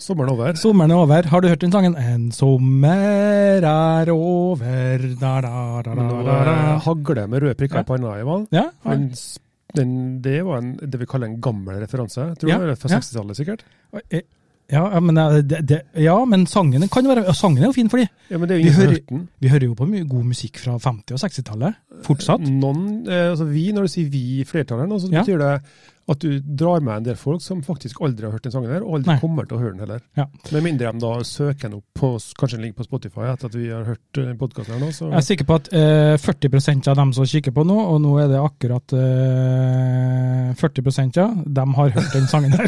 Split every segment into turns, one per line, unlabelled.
Sommeren over.
sommeren over. Har du hørt den sangen? En sommer er over da, da, da, da,
Nå
da, da.
eh, hagler jeg med røde prikker
Ja.
i panna, Ivan.
Ja?
Men s- den, det var en, det vi kaller en gammel referanse. Jeg Tror
Ja,
det var fra
ja.
60-tallet, sikkert.
Ja, Eh, ja, men, eh, det, det, ja, men sangen kan jo være ja, Sangen er jo fin, fordi
Ja, men det
Vi
er jo ingen som har
hører-
hørt den.
vi hører jo på mye god musikk fra 50- og 60-tallet fortsatt.
Noen, eh, altså vi, når du sier vi i flertallet, nå, så
Ja.
betyr det at du drar med en del folk som faktisk aldri har hørt den sangen her, og aldri
Nei.
kommer til å høre den heller.
Ja.
Med mindre de da søker den opp på, kanskje den ligger på Spotify etter at vi har hørt eh, podcasten her nå. Så.
Jeg er sikker på at eh, 40 av dem som kikker på nå, og nå er det akkurat eh, 40 ja, dem har hørt den sangen her.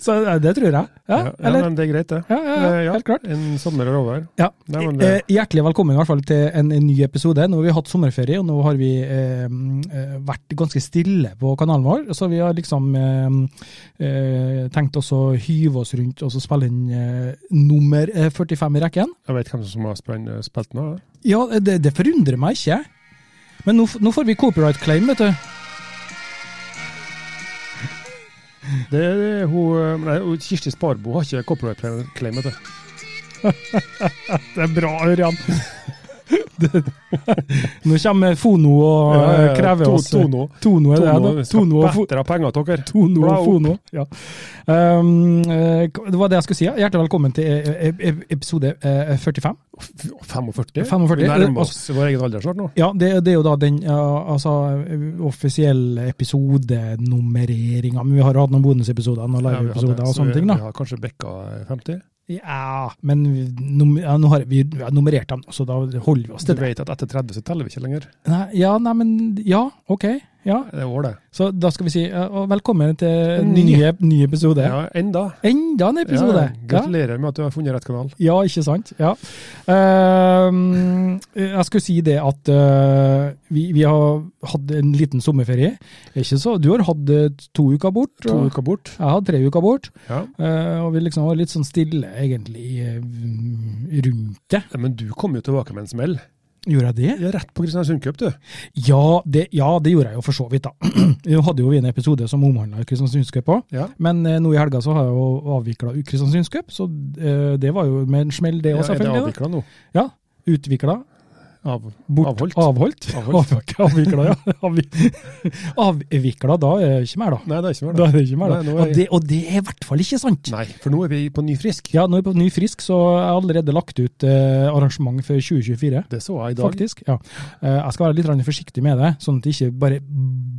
Så eh, det tror jeg. Ja,
Ja, ja,
eller?
men det er greit, det.
Ja, ja,
Eh,
ja,
ja.
helt klart.
En sommer er over.
Ja.
Nei, men det-
Eh, Hjertelig velkommen i hvert fall til en, en ny episode. Nå har vi hatt sommerferie, og nå har vi eh, eh, vært ganske stille på kanalen vår. Så vi har liksom eh, eh, tenkt oss å hyve oss rundt og så spille inn eh, nummer eh, 45 i rekken.
Jeg vet hvem som har spenn- spilt den av.
Ja, det, det forundrer meg ikke. Men nå, f- nå får vi copyright claim, vet du.
Det er hun, eh, nei, hun- Kirsti Sparbo har ikke copyright claim, vet du.
Det er bra, Ørjan. nå kommer Fono og eh, krever oss
Tono.
Tono er det, ja,
Tono
da.
skal
Tono og Fo-
bedre av penger til dere.
Tono
Bra
og
opp.
Fono. Ja. Um, eh, det var det jeg skulle si. ja. Hjertelig velkommen til eh, eh, episode eh, 45.
F- 45?
45,
Vi
eh,
nærmer oss vår egen alder snart nå.
Ja, det, det er jo da den ja, altså, offisielle episodenummereringa. Men vi har hatt noen bonusepisoder og
Ja, vi har det,
liveepisoder og
så vi-
sånne ting, da.
Vi har kanskje eh, bikka 50.
Ja, men vi- num, ja, nå har vi, vi har nummerert dem, så da holder vi oss
Du
til det.
vet at etter 30 så teller vi ikke lenger.
Nei, ja, nei, men Ja, OK. Ja.
Det er år, det.
Så da skal vi si ja, og velkommen til en
Ny.
ny, ny episode.
Ja, enda.
Enda en episode!
Ja,
Ja,
gratulerer med at du har funnet rett kanal.
ja ikke sant? Ja. Ehm, jeg skulle si det at eh, vi, vi har hatt en liten sommerferie. Ikke så, du har hatt eh, to uker bort.
To
og
uker bort.
Jeg har hatt tre uker bort.
Ja.
eh, og vi liksom var litt sånn stille, egentlig, eh, rundt det.
Ja, Men du kom jo tilbake med en smell.
Gjorde jeg det?
Ja, rett på Kristiansund Cup, du.
Ja det, ja, det gjorde jeg jo for så vidt, da. Nå hadde jo vi en episode som omhandla Kristiansundscupen.
Ja.
Men eh, nå i helga så har jeg jo avvikla Kristiansundscup, så eh, det var jo med en smell, det òg,
Ja, er det
selvfølgelig.
avvikla nå?
da. Ja, Utvikla,
Av,
bort,
avholdt?
avholdt.
Avholdt.
Avvikla, avvikla, ja. Avvi- Avvikla, da er det ikke mer, da.
Nei, det er ikke mer,
Da
det.
er det ikke mer,
Nei,
da.
nå er
Og det, og det er i hvert fall ikke sant!
Nei, for nå er vi på ny frisk.
Ja, nå er jeg på ny frisk, så jeg har allerede lagt ut eh, arrangement for 2024.
Det så jeg i dag.
faktisk. Ja. Eh, Jeg skal være litt grann forsiktig med det, sånn at det ikke bare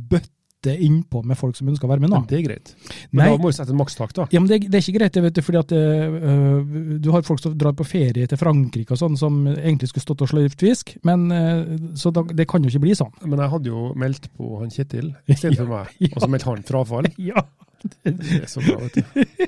bøtter innpå med folk som ønsker å være med nå.
Men det er greit. Men
Nei,
da må vi sette en makstak, da.
ja, men det, det er ikke greit, det, vet du, fordi at eh, øh, du har folk som drar på ferie til Frankrike og sånn, som egentlig skulle stått og sløyft fisk, men eh, så da, det kan jo ikke bli sånn.
Men jeg hadde jo meldt på han Kjetil istedenfor meg, og så meldte han frafall.
Ja.
Det er så bra, vet du.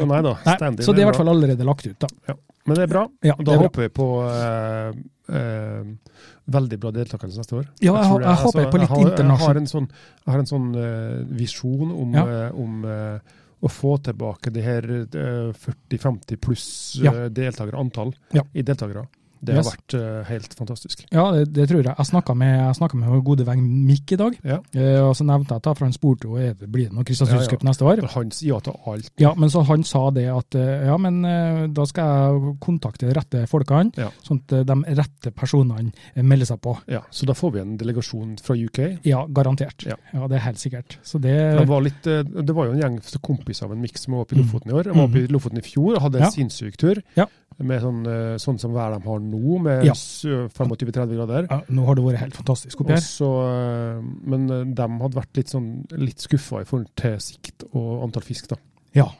Så nei da.
Nei,
stand-in
så det er i
bra.
hvert fall allerede lagt ut, da.
Men det er bra.
Ja,
Og
det
da
er bra.
håper vi på eh, eh, veldig bra deltakelse neste år.
Ja, jeg, jeg,
tror det-
jeg håper
altså,
på litt
jeg har, Jeg har
internasjonal
en sånn, jeg har en sånn eh, visjon om,
Ja.
eh, om eh, å få tilbake de her eh, 40-50 pluss
Ja.
eh, deltakere, antall
Ja.
i deltakere. Det
Yes.
har vært eh, helt fantastisk.
Ja, det, det tror jeg. Jeg snakka med, jeg snakket med vår gode venn Mikk i dag,
Ja.
eh, og så nevnte jeg at for han spurte jo er det- blir det noe Kristiansundscup
Ja, ja.
neste år.
For Han sier ja til alt.
Ja, men så han sa det at eh, ja, men eh, da skal jeg kontakte de rette folkene,
Ja.
sånn at eh, de rette personene eh, melder seg på.
Ja, så da får vi en delegasjon fra UK.
Ja, garantert.
Ja.
det er helt sikkert. Så det
Det var, litt, eh, det var jo en gjeng kompiser av en miks som var oppe i Lofoten i år. De var oppe i Lofoten i fjor og hadde
Mm.
en
Ja.
sinnssyk tur.
Ja.
Med sånn, eh, sånn som været de har nå, med
Ja.
s- 25-30 grader.
ja, Nå har det vært helt fantastisk oppi
Og
her.
så, eh, men eh, de hadde vært litt, sånn, litt skuffa i forhold til sikt og antall fisk, da.
Ja.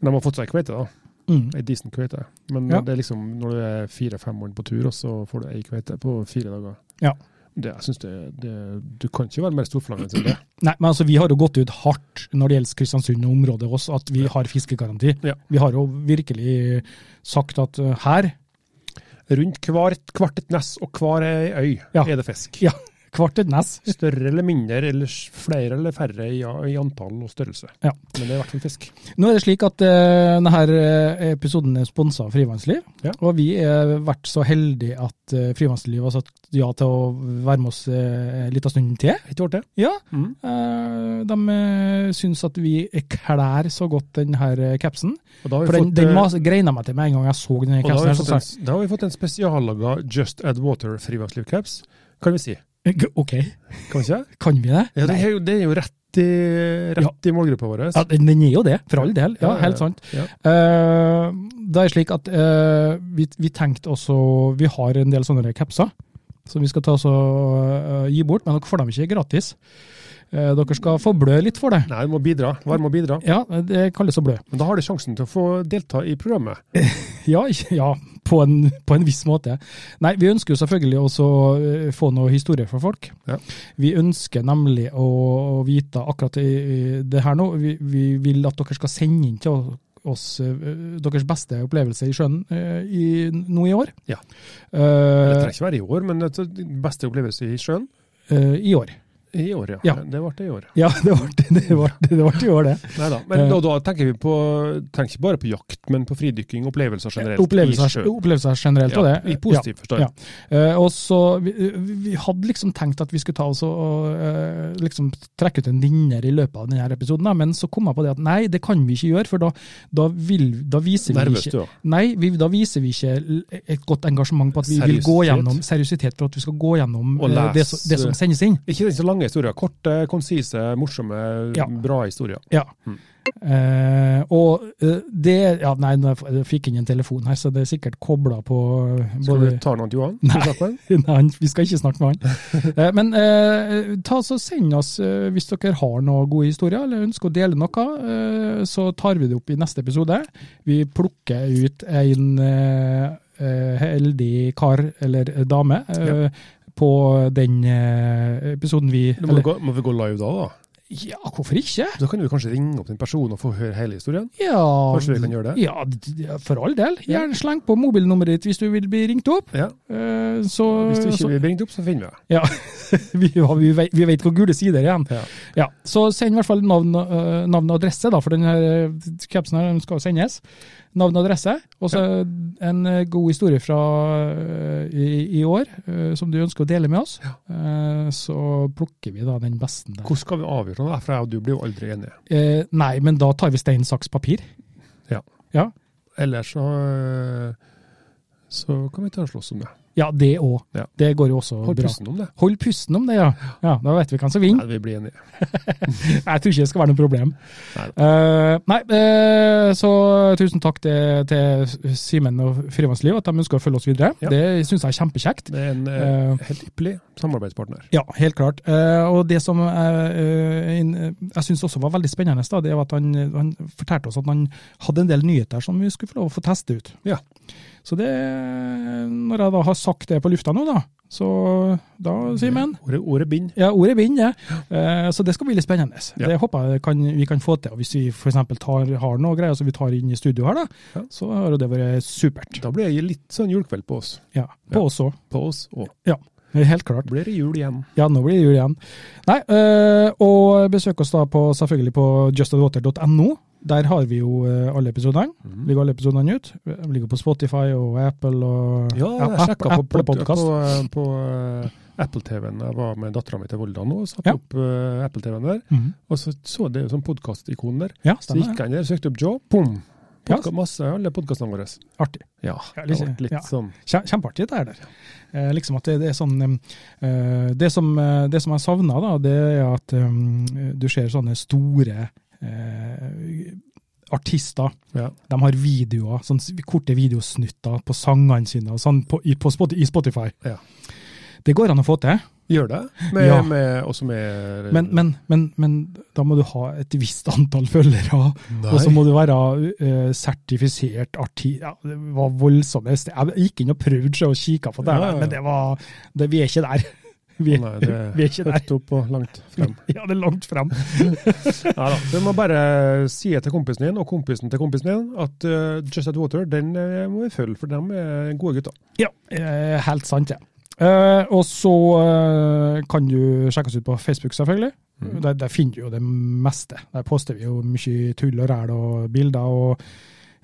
Men de har fått seg ei kveite, da.
Mm.
Ei decent kveite. Men
Ja.
det er liksom når du er fire-fem år på tur, og så får du ei kveite på fire dager.
Ja.
Det, jeg synes det, det, du kan ikke være mer storflangen enn det.
Nei, men altså, Vi har jo gått ut hardt når det gjelder Kristiansund og området oss, at vi har fiskegaranti.
Ja.
Vi har jo virkelig sagt at eh, her,
Rundt hvert, hvert et nes og hver ei øy
Ja.
er det fisk.
ja, hvert et nes.
Større eller mindre, eller s- flere eller færre i, i antall og størrelse.
Ja.
Men det er i hvert fall fisk.
Nå er det slik at eh, denne eh, episoden er sponsa av Frivannsliv.
Ja.
Og vi har vært så heldige at eh, Frivannsliv har sagt ja til å være med oss eh, en liten stund til.
Ikke vært det?
Ja,
Mm.
eh, De eh, syns at vi klær så godt denne eh, capsen.
Og da har vi
For den,
fått,
den
eh,
mas- greina meg til med en gang jeg så denne
og da
capsen.
har, vi
her,
fått
så
en, da har vi fått en spesiallaga Just Add Water frivannsliv-caps, kan vi si.
sa jeg, Ok,
Kan vi ikke?
kan vi det?
Ja, det,
Nei.
er jo, det er jo rett i, rett i målgruppa vår.
Ja, den den er jo det, for all del. Ja,
Ja, ja,
helt sant.
ja.
Eh, det er slik at eh, vi, vi tenkte også Vi har en del sånne kapser som vi skal ta oss og eh, gi bort, men dere får dem ikke gratis. Eh, dere skal få blø litt for det.
Nei, du må bidra. Vær med å bidra.
Ja, det kalles å blø.
Men da har du sjansen til å få delta i programmet.
Ja, ikke- ja på, en, på en viss måte. Nei, vi ønsker jo selvfølgelig også å få noe historie fra folk.
Ja.
Vi ønsker nemlig å vite akkurat i- i det her nå. Vi, vi vil at dere skal sende inn til oss eh, deres beste opplevelse i sjøen eh, i, nå i år.
Ja. Det
Eh,
trenger ikke være i år, men altså, din beste opplevelse i sjøen?
eh, I år.
I år, ja.
Ja.
Det ble det i år.
Ja, det ble det, det, ble, det, ble i år, det.
Neida. Men
Eh.
da, da tenker vi på, tenker ikke bare på jakt, men på fridykking, opplevelser generelt. i
Opplevelser,
sjøen.
opplevelser generelt og det.
Ja, I positiv forstand.
ja. Eh, og så, vi, vi hadde liksom tenkt at vi skulle ta oss og, og eh, liksom trekke ut en vinner i løpet av denne episoden, da, men så kom jeg på det at nei, det kan vi ikke gjøre, for da, da, vil, da viser vi
Nervøs,
ikke
du òg.
Nei, vi, da viser vi ikke l- et godt engasjement på at vi vil gå
Seriøsitet.
gjennom seriøsitet for at vi skal gå gjennom
Og
eh, det,
les-
som- det som sendes inn.
Ikke den så lange historien. Korte, konsise, morsomme,
Ja.
bra historier.
Ja.
Mm.
Eh, og eh, det Ja, nei, nå f- jeg fikk inn en telefon her, så det er sikkert kobla på eh,
Skal
både
vi ta noe til Johan?
Nei.
Skal vi snakke med han?
Nei, han- vi skal ikke snakke med han. Eh, Men eh, ta så send oss eh, hvis dere har noen gode historier eller ønsker å dele noe. Eh, så tar vi det opp i neste episode. Vi plukker ut en eh, eh, heldig kar eller dame eh, på den eh, episoden vi
Nå Må, vi
eller,
gå, må vi gå live da, da?
Ja, hvorfor ikke?
Da kan vi kanskje ringe opp den personen og få høre hele historien?
Ja,
Kanskje vi kan gjøre det?
Ja, d- d- for all del. Gjerne sleng på mobilnummeret ditt hvis du vil bli ringt opp.
Ja.
Eh, så,
Hvis du
så
ikke blir ringt opp, så finner vi det.
Ja, vi, ja, vi, vet, vi vet hvor gule sider er igjen.
Ja.
Ja, så send i hvert fall navn, øh, navn og adresse, da, for denne øh, capsen her den skal jo sendes. Navn og adresse, og så en øh, god historie fra øh, i, i år øh, som du ønsker å dele med oss. Eh, Så plukker vi da den beste der.
Hvordan skal vi avgjøre det? For jeg og du blir jo aldri enige.
Eh, Nei, men da tar vi stein, saks, papir.
Ja.
Ja,
Ellers så eh, så kan vi ta og slåss om det.
ja det òg.
Ja.
Det går jo også
Hold
bra. Mm.
pusten om det.
Hold pusten om det, ja. ja. Da vet vi hvem som vinner.
Nei, vi blir enige.
Jeg tror ikke det skal være noe problem.
Nei.
Eh, nei, eh, så tusen takk til, til Simen og Frivannsliv at de ønsker å følge oss videre.
Ja.
Det syns jeg er kjempekjekt.
Det er en eh,
Eh,
helt ypperlig samarbeidspartner.
ja, helt klart. Eh, og det som eh, eh, inn- jeg syns også var veldig spennende, da, det var at han, han fortalte oss at han hadde en del nyheter som vi skulle få lov å få teste ut.
Ja.
Så det Når jeg da har sagt det på lufta nå, da, så da, Simen
Ordet, ordet bind.
Ja, ordet binder. Eh, Så det skal bli litt spennende.
Ja.
Det håper jeg kan, vi kan få til. Og hvis vi f.eks. har noe greier som vi tar inn i studio her, da,
Ja.
så har jo det vært supert.
Da blir det litt sånn julekveld på oss.
Ja,
Ja.
På oss òg.
På oss òg.
Ja, helt klart.
Blir det jul igjen?
Ja, nå blir det jul igjen. Nei, eh, og besøk oss da på, selvfølgelig på justandwater.no. Der har vi jo eh, alle episodene. Ligger alle episodene ut. De ligger på Spotify og Apple og
Ja, jeg sjekka på,
Apple
pod- på,
Podcast.
eh, på eh, Apple-TV-en. Jeg var med dattera mi til Volda nå og satte
Ja.
opp eh, Apple-TV-en der.
Mhm.
Og så så det jo sånn podkastikon der.
Ja,
Så gikk
stemmer.
jeg inn der, søkte opp Joe. Boom!
Ja.
Podka masse, alle podkastene våre.
Artig.
Ja,
Ja,
det
liksom,
ble litt
ja.
sånn
Kjem- Kjempeartig det er der. Eh, liksom at det, det er sånn eh, det, som, eh, det som jeg savner, da, det er at eh, du ser sånne store eh, artister.
ja.
De har videoer, sånn s- korte videosnutter på sangene sine og sånn på, i, på Spot- i Spotify.
Ja.
Det går an å få til,
Gjør det. Med,
Ja.
med, også med
men, men, men, men da må du ha et visst antall følgere.
Nei.
Og så må du være eh, sertifisert artist. Ja, det var voldsomt. Jeg gikk inn og prøvde så og kikka på det,
Ja, ja, ja.
men det var det, Vi er ikke der. Vi,
Å nei, det er
vi er ikke der.
høyt opp og langt frem.
Ja, det er langt frem.
Neida, Du må bare si det til kompisen din, og kompisen til kompisen din, at eh, Just At Water den eh, må vi følge, for de er gode gutter.
Ja, eh, helt sant, ja. Eh, og så eh, kan du sjekke oss ut på Facebook, selvfølgelig.
Mm.
Der, der finner du jo det meste. Der poster vi jo mye tull og ræl og bilder og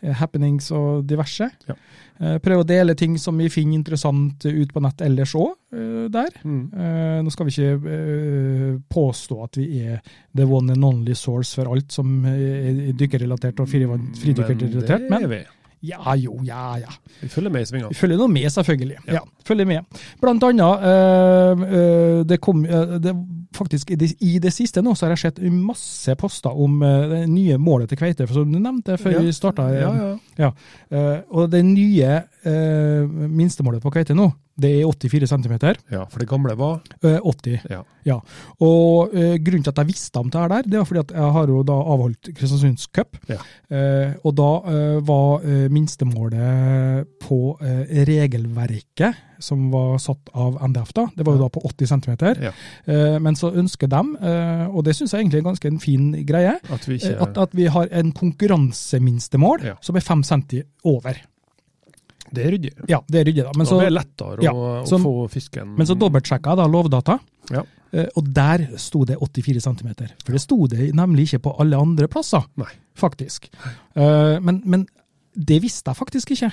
eh, happenings og diverse.
Ja.
Eh, prøv å dele ting som vi finner interessant ut på nett ellers òg, eh, der.
Mm.
Eh, nå skal vi ikke eh, påstå at vi er the one and only source for alt som eh, er dykkerrelatert og frivann- fridykkerrelatert,
Mm, Men det
men
er vi.
ja jo, ja ja.
Vi følger med i
Vi
svingene.
følger nå med, selvfølgelig.
Ja.
Ja. følger med. Blant annet, eh, eh, det kom eh, det, faktisk i det, i det siste nå, så har jeg sett masse poster om eh, det nye målet til Kveite, for som du nevnte før
Ja.
vi starta. eh,
Ja, ja.
eh, og det nye eh, minstemålet på Kveite nå, det er 84 cm.
ja, for det gamle var
Eh, 80.
Ja.
Og eh, grunnen til at jeg visste om det her der, det var fordi at jeg har jo da avholdt Kristiansunds Cup.
Ja.
Eh, og da eh, var eh, minstemålet på eh, regelverket, som var satt av NDF da, det var jo da på 80 cm.
Ja.
Eh, men så ønsker de, eh, og det syns jeg egentlig er ganske en fin greie,
at vi
eh,
ikke
at, at vi har en konkurranseminstemål
Ja.
som er 5 cm over.
Det er ryddig.
Ja, det er ryddig, da. Men
Men
så,
det er lettere
ja,
å,
så-
å få fisken
men så dobbeltsjekka jeg da Lovdata.
Ja.
Eh, Og der sto det 84 cm. For det sto det nemlig ikke på alle andre plasser,
Nei.
faktisk. Eh, Men, men det visste jeg faktisk ikke.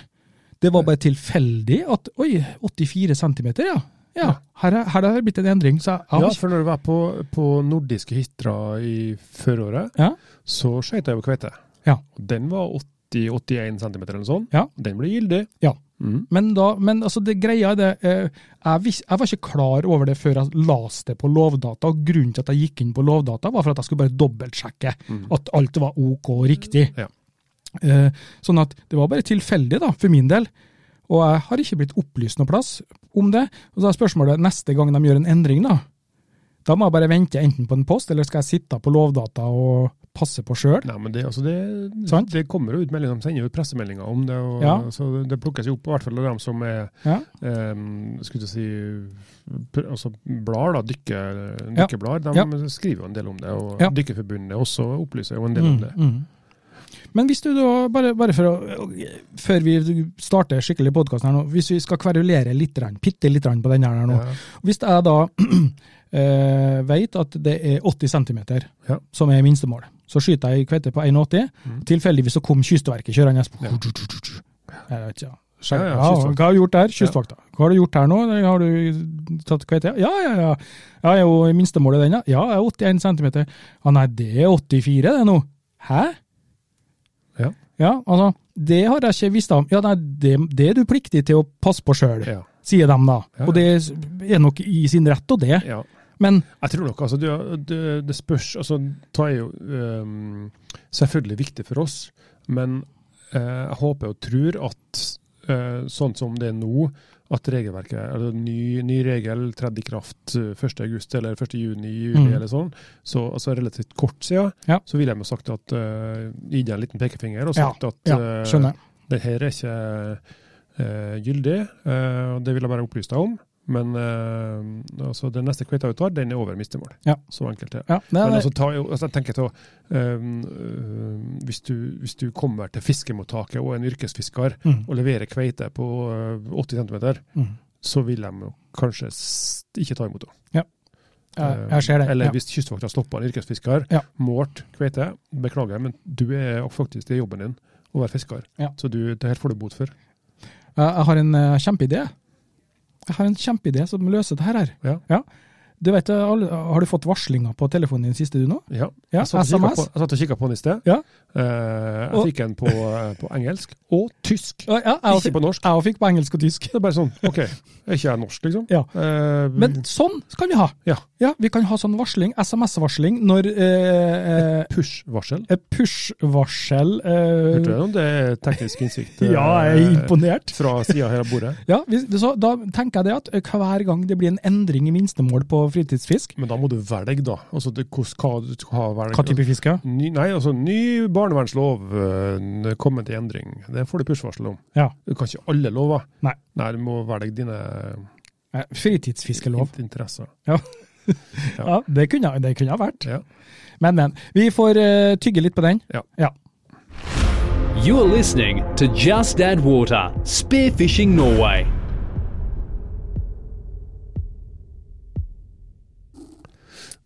Det var bare tilfeldig at Oi, 84 cm, ja. ja
Ja.
her, er, her har det blitt en endring. Så jeg, jeg har
Ja,
ikke-
for når du var på, på nordiske hytra i føråret,
Ja.
så skøyt jeg jo kveite.
Ja.
Og Den var 80-81 cm eller noe sånt.
Ja.
Den blir gyldig.
Ja.
Mm.
Men, da, men altså det greia er det, eh, jeg, vis, jeg var ikke klar over det før jeg leste det på Lovdata. og Grunnen til at jeg gikk inn på Lovdata, var for at jeg skulle bare dobbeltsjekke
Mm.
at alt var OK og riktig.
Ja.
Eh, sånn at det var bare tilfeldig, da, for min del. Og jeg har ikke blitt opplyst noe plass om det. Og så er spørsmålet neste gang de gjør en endring, da. Da må jeg bare vente enten på en post, eller skal jeg sitte på Lovdata og passe på sjøl?
Nei, men det, altså det,
Sant?
det kommer jo ut meldinger, de sender jo ut pressemeldinger om det, og,
Ja.
så det, det plukkes jo opp, i hvert fall av dem som er,
Ja.
em, skulle jeg si, pr- altså blar, da, dykke,
Ja.
dykkeblad, de skriver jo en del om det, og
Ja.
Dykkerforbundet også opplyser jo en del om det.
Mm, mm. Men hvis du da, bare, bare for å, før vi starter skikkelig podkasten her nå, hvis vi skal kverulere litt, bitte litt på den her nå,
Ja.
Hvis jeg da eh, vet at det er 80 cm
Ja.
som er minstemål, så skyter jeg kveite på 1,80.
Mm.
Tilfeldigvis så kom Kystverket kjørende.
Ja.
Jeg vet ikke, ja.
Ja, ja,
ja,
kystvakt.
hva har du gjort der? Kystvakta. Hva har du gjort her nå? Har du tatt kveite? Ja, ja, ja. Ja, er jo minstemålet den, ja. Ja, jeg er 81 cm. Ja, nei, det er 84 det nå. Hæ?
Ja.
Ja, altså, det har jeg ikke visst om. Ja, nei, det, det er du pliktig til å passe på sjøl
Ja.
sier de da.
Ja, ja.
Og det er nok i sin rett og det,
ja.
men
Jeg tror nok, altså, det, det, det spørs altså, Det er jo øhm, selvfølgelig viktig for oss, men eh, jeg håper og tror at eh, sånn som det er nå, at regelverket, eller ny, ny regel tredde i kraft eh, 1. august eller 1. juni, juli
Mm.
eller sånn, så altså, relativt kort siden,
Ja.
så ville jeg jo sagt at uh, gi deg en liten pekefinger og
Ja,
sagt at
ja,
eh,
skjønner. jeg.
det her er ikke eh, gyldig, eh, og det vil jeg bare opplyse deg om. Men eh, altså, den neste kveita du tar, den er over mistemål.
Ja.
Så enkelt er det.
Ja, nei,
Men
nei,
altså, ta, jo- altså, jeg tenker til, eh, hvis, du, hvis du kommer til fiskemottaket og er en yrkesfisker
mm,
og leverer kveite på eh, 80 cm,
mm.
så vil de jo kanskje s- ikke ta imot henne. Eh,
Jeg, jeg ser det.
Eller
ja.
hvis Kystvakta stopper en yrkesfisker,
Ja.
målt kveite, beklager, men du er faktisk det er jobben din å være fisker,
Ja.
så du, det her får du bot for.
Jeg jeg har en eh, kjempeidé. Jeg har en kjempeidé som løser det her. her.
Ja.
Du vet, eh, alle- Har du fått varslinger på telefonen din siste du nå?
Ja.
Ja,
Jeg satt og kikket
SMS?
på- Jeg satt og kikka på den i sted.
Ja.
Eh, jeg
Og-
fikk en på, eh, på engelsk og tysk.
Ja, jeg også
Ikke
fikk-
på norsk.
jeg også fikk på engelsk og tysk.
Det er bare sånn, OK, er ikke jeg norsk, liksom?
Ja.
Eh,
Men sånn kan vi ha.
Ja.
Vi kan ha sånn varsling, SMS-varsling, når eh, eh,
Push-varsel.
eh, push-varsel eh,
Hørte du det om det er teknisk innsikt eh,
Ja, jeg er imponert.
fra sida her av bordet?
Ja, hvis- så Da tenker jeg det at eh, hver gang det blir en endring i minstemål på fritidsfisk
Men da må du velge, da. Altså, det, hos, hva, du skal ha velge.
Hva type fisk? Ja.
Ny, nei, altså, ny barnevernslov eh, kommet i endring. Det får du push-varsel om.
Ja.
Du kan ikke alle lover.
Nei.
nei, du må velge dine
Eh, Fritidsfiskelov.
Interesser. Ja.
Ja, det kunne det kunne ha vært.
Ja.
Men, men. Vi får eh, tygge litt på den.
Ja.
ja.
You're listening to Just Add Water Spearfishing Norway.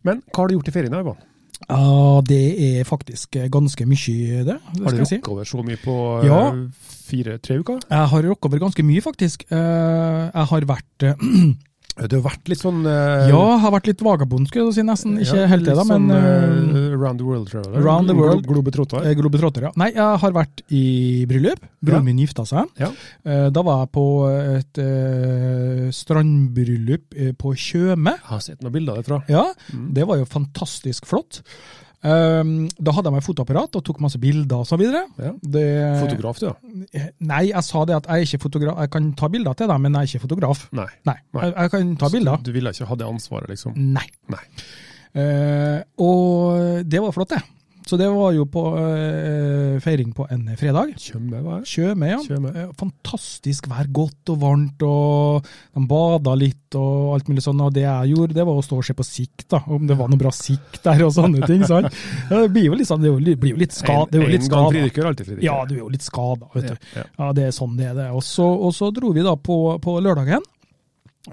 Men hva har du gjort i ferien, Ivan?
Ja, Ah, det er faktisk eh, ganske mye, det. det skal
Har du
jeg si.
rukket over så mye på
Ja.
eh, fire-tre uker?
Jeg har rocka over ganske mye, faktisk. Eh, Jeg har vært eh,
Du har vært litt sånn eh,
Ja, jeg har vært litt vagabond, skulle jeg si, nesten. Ikke
ja,
helt det, da,
litt
men
sånn,
eh,
eh, Round the world, tror jeg. det er.
Round the
Glo-
world.
Globetrotter.
eh, globetrotter, ja. Nei, jeg har vært i bryllup.
Ja.
Broren min gifta seg.
Ja.
Eh, Da var jeg på et eh, strandbryllup eh, på Tjøme.
Jeg har sett noen bilder derfra.
Ja,
Mm.
det var jo fantastisk flott. Um, Da hadde jeg meg fotoapparat og tok masse bilder og så videre.
Ja.
Det- eh,
Fotograf, du, ja?
Nei, jeg sa det at jeg er ikke fotograf. Jeg kan ta bilder til deg, men jeg er ikke fotograf.
Nei.
Nei,
Nei.
jeg, jeg kan ta bilder. Mm.
Du ville ikke ha det ansvaret, liksom?
Nei.
Nei.
Eh, og det var flott, det. Så det var jo på eh, feiring på en fredag.
Tjøme, hva er det?
Tjøme, ja.
Tjøme.
Eh, Fantastisk vær, godt og varmt, og de bada litt og alt mulig sånn. Og det jeg gjorde, det var å stå og se på sikt, da. Om det var noe bra sikt der og sånne ting. sant? Det blir jo litt sånn, det er jo li- blir jo litt skada. Det er jo litt
en gang
skada.
fridykker, alltid fridykker.
Ja, du er jo litt skada, vet du.
Ja, ja.
Ja, det er sånn det er. det. Og så, og så dro vi da på, på lørdagen.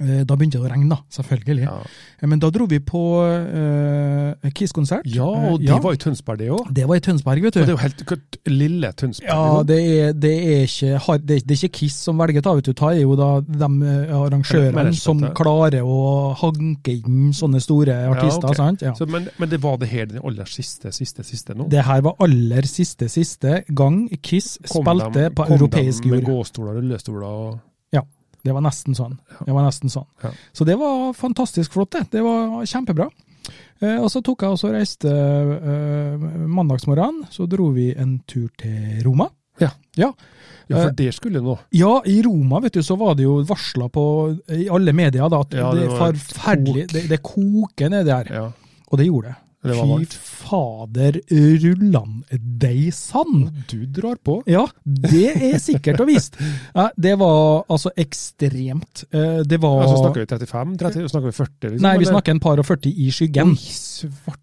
Eh, Da begynte det å regne, da, selvfølgelig.
Ja.
Eh, Men da dro vi på eh, Kiss-konsert.
Ja, og
Eh,
de var i Tønsberg, det òg.
det var i Tønsberg, vet
Og det
du.
er jo helt kutt, lille Tønsberg.
Ja,
liksom.
det er, det, er ikke, har- det, er- det er ikke Kiss som velger ta, vet du. Ta er jo da de eh, arrangørene
Management,
som
ja.
klarer å hanke inn sånne store artister,
ok.
sant? Ja.
Så, men, men det var det her den aller siste, siste, siste nå?
Det her var aller siste, siste gang Kiss
Kom
spilte
dem-
på
kom
europeisk
dem
jord.
Med gåstoler og rullestoler og
Ja, det var nesten sånn. Det var nesten sånn.
Ja.
Så det var fantastisk flott, det. Det var kjempebra. Eh, og så tok jeg også reiste eh, mandagsmorgenen, så dro vi en tur til Roma.
Ja.
Ja.
Ja, for
Eh,
det skulle nå.
ja, i Roma vet du, så var det jo varsla på i alle media da, at
Ja,
det,
det
er
var
forferdelig, det, det koker nedi her.
Ja.
Og det gjorde det.
Det var varmt.
Fy fader rullan deg sann!
Du drar på.
Ja, det er sikkert og visst. Ja, det var altså ekstremt. Eh, Det var
Altså, snakker vi 35, 30, snakker vi 40? Liksom,
Nei, vi
eller?
snakker en par og 40 i skyggen.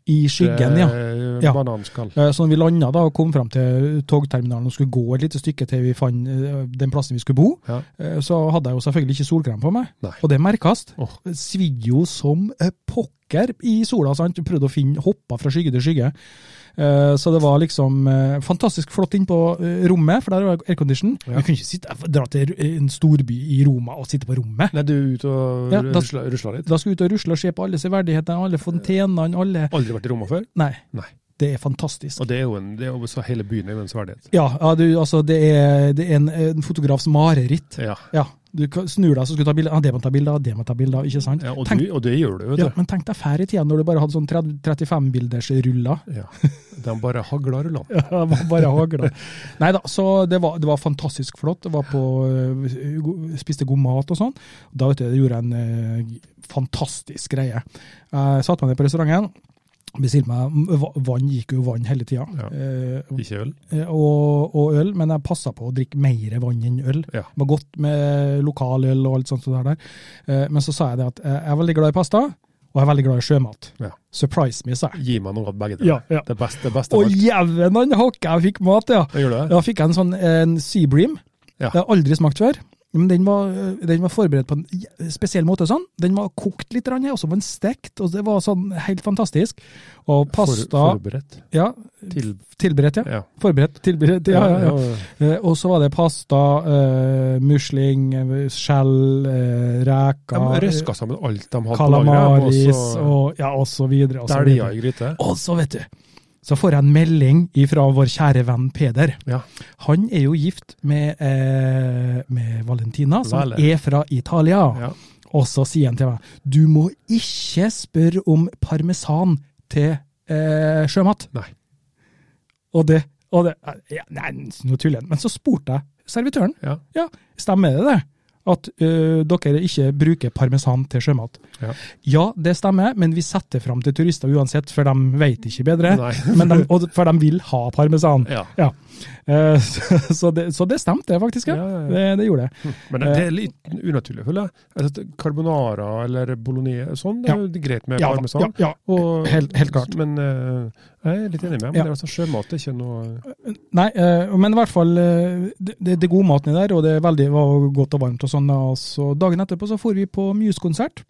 I skyggen, ja.
Eh,
Ja.
Bananskall.
Eh, Så når vi landa da og kom fram til togterminalen og skulle gå et lite stykke til vi fant eh, den plassen vi skulle bo,
Ja.
eh, så hadde jeg jo selvfølgelig ikke solkrem på meg.
Nei.
Og det merkes.
Åh.
Det Svidde jo som eh, pokker i sola. sant? Du prøvde å finne hoppa fra skygge til skygge. Eh, Så det var liksom eh, fantastisk flott inn på eh, rommet, for der var aircondition.
Ja.
Du kunne ikke sitte, eh, dra til en storby i Roma og sitte på rommet.
Nei, du er ute og
Ja,
ja,
da-
rusler, rusler litt?
Da skal du ut og rusle og se på alle severdighetene, alle fontenene, alle
Aldri vært i Roma før?
Nei,
Nei.
det er fantastisk.
Og det er jo, en, det er jo så hele byen er jo en sverdighet.
Ja, ja du, altså, det er, det er en, en fotografs mareritt.
Ja.
Ja, du kan- snur deg, så skal du ta bilder. Ja, det må ta bilder, av, det må ta bilder, av, ikke sant?
ja og,
Tenk-
du, og det gjør du, vet
ja,
du.
men tenk deg færre i tida, når du bare hadde sånn 30 35-bilders ruller.
Ja. De bare hagler rullene.
Ja, det var bare hagla. Nei da, så det var, det var fantastisk flott. Jeg var på, øh, go- spiste god mat og sånn. Da vet du, det gjorde en øh, fantastisk greie. Jeg satte meg ned på restauranten. Bestilte meg va- vann, gikk jo vann hele tida.
Ja.
Eh,
Ikke øl?
Eh, og, og øl, men jeg passa på å drikke mer vann enn øl.
Ja.
Det var godt med lokaløl og alt sånt. som det er der. Eh, Men så sa jeg det at eh, jeg er veldig glad i pasta, og jeg er veldig glad i sjømat.
Ja.
Surprise me, sa jeg.
Gi meg noe av begge
Ja, ja.
Det beste, det beste
Å
av alt.
jævlen han hakka, jeg fikk mat, ja!
Jeg gjør det.
Da fikk jeg en sånn en sea bream.
Ja.
Det har jeg aldri smakt før. Men den var, eh, den var forberedt på en jæ- spesiell måte. sånn. Den var kokt litt, grann, og så var den stekt. og Det var sånn helt fantastisk. Og pasta
For, forberedt.
ja,
Til,
Tilberedt, ja.
ja.
Forberedt, tilberedt. Ja, ja, ja.
ja.
Eh, Og så var det pasta, eh, musling, eh, skjell, eh,
De
reker,
røska sammen alt de
eh,
hadde
kalamaris
på lageret.
og, ja, og så videre. Og
Og
så,
så dælja
videre.
i gryte.
og så vet du, så får jeg en melding fra vår kjære venn Peder.
Ja.
Han er jo gift med, eh, med Valentina, som
Vale.
er fra Italia.
Ja.
Og så sier han til meg, du må ikke spørre om parmesan til eh, sjømat.
Nei.
Og det, og det ja, Nei, nå tuller jeg. Men så spurte jeg servitøren.
Ja.
Ja, stemmer det det? at eh, dere ikke bruker parmesan til sjømat.
Ja.
Ja, det stemmer, men vi setter fram til turister uansett, for de vet ikke bedre.
Nei.
Men de, og, for de vil ha parmesan.
Ja.
Ja. Eh, så, så, det, så det stemte faktisk, ja.
Ja, ja, ja.
Det, det gjorde det.
Men det, det er litt unaturlig, føler jeg. jeg. synes at Carbonara eller bolognese sånn, det er jo greit med
Ja, da,
parmesan.
ja, ja.
Og-
Helt- helt klart.
Men eh, jeg er litt enig med deg. men
Ja.
det er altså Sjømat er ikke noe
Nei, eh, men i hvert fall eh, det, det er god maten i der, og det er veldig var godt og varmt. og sånn. da. Og så dagen etterpå så for vi på Muse-konsert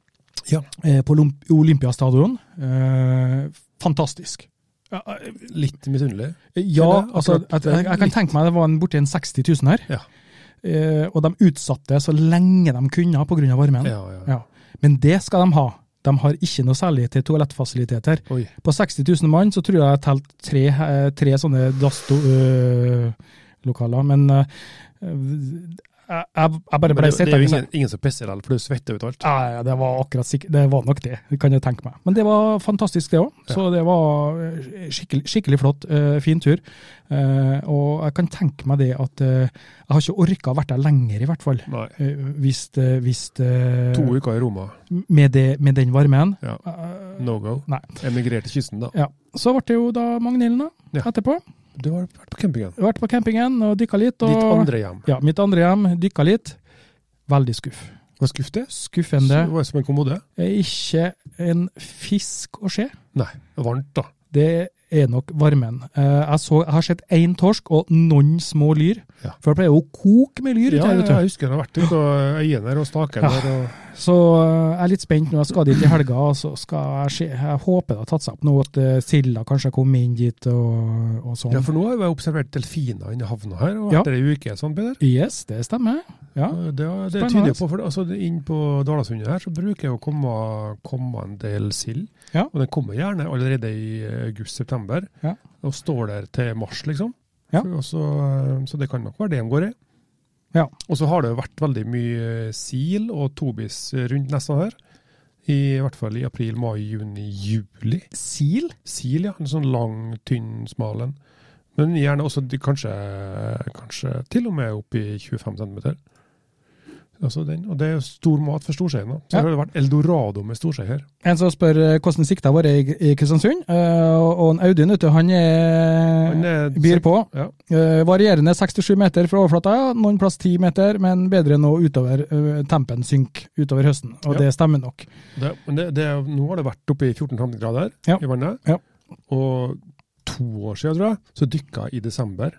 Ja.
eh, på Olymp- Olympiastadion. Eh, fantastisk. Ja, eh,
Litt misunnelig.
Ja,
Eller
altså,
akkurat
at, jeg, jeg kan tenke meg det var en borti en 60 000 her.
Ja.
Eh, og de utsatte så lenge de kunne pga. varmen.
Ja, ja.
Ja. Men det skal de ha. De har ikke noe særlig til toalettfasiliteter.
Oi.
På 60 000 mann så tror jeg jeg telte tre, eh, tre sånne dasslokaler, men eh, jeg, jeg jeg bare ble
Men det, det
sittende
er jo
og si-
ingen, ingen som pisser deg, for du svetter ut alt.
Ja, ja, det var akkurat sikkert, det var nok det, kan jeg tenke meg. Men det var fantastisk det òg, så det var eh, skikkelig, skikkelig flott, eh, fin tur. Eh, og jeg kan tenke meg det at eh, jeg har ikke orka vært der lenger, i hvert fall.
Nei.
Eh, Hvis, det- hvis det-
To uker i Roma.
med, det, med den varmen.
Ja.
Eh,
No go.
Nei.
Emigrert til kysten, da.
ja. Så ble det jo da Magnhilden da,
Ja.
etterpå.
Du har vært på campingen.
Vært på campingen og dykka litt. Og,
Ditt andre hjem.
Ja, mitt andre hjem. Dykka litt. Veldig skuff.
Var skuff det? Så
Skuffende.
det var som en kommode?
Ikke en fisk å se.
Nei. Varmt, da.
Det er nok varmen. Eh, Jeg, så, jeg har sett én torsk og noen små lyr.
Ja.
For det pleier jo å koke med lyr. ute
Ja,
her,
jeg,
vet du.
jeg husker jeg har vært ute og øyene der og staken
Ja.
der. Og,
Så eh, jeg er litt spent nå. Jeg skal dit i helga. og så skal Jeg, se, jeg håper det har tatt seg opp nå, at eh, silda kanskje har kommet inn dit og, og sånn.
ja, for nå har jeg observert delfiner inne i havna her, og
Ja.
vært der ei uke. sånn, Peder.
Yes, det stemmer. Ja.
Eh, Det, det
Spennende.
tyder jo på, for altså, Inn på Dalasundet her så bruker jo å komme, komme en del sild.
Ja.
Og den kommer gjerne allerede i august-september
Ja.
og står der til mars, liksom.
Ja.
For- Og så, så det kan nok være det de går i.
Ja.
Og så har det jo vært veldig mye sil og tobis rundt nesta her. I hvert fall i april, mai, juni, juli.
Sil?
Sil, ja. En sånn lang, tynn, smal en. Men gjerne også de- kanskje, kanskje til og med opp i 25 cm. Altså den, og det er jo stor mat for storseien. da. Så
Ja.
det har det vært eldorado med storsei her.
En som spør eh, hvordan sikta vår er i, i Kristiansund. eh, og og en Audun, vet du, han er,
Han er-
byr på.
Ja.
Eh, varierende 67 meter fra overflata, ja. noen plass 10 meter, men bedre nå utover eh, tempen synker utover høsten. Og
Ja.
det stemmer nok.
Det, men det, det, er- nå har det vært oppe i 14-15 grader
Ja.
i vannet.
Ja.
Og to år siden, tror jeg, så dykka jeg i desember.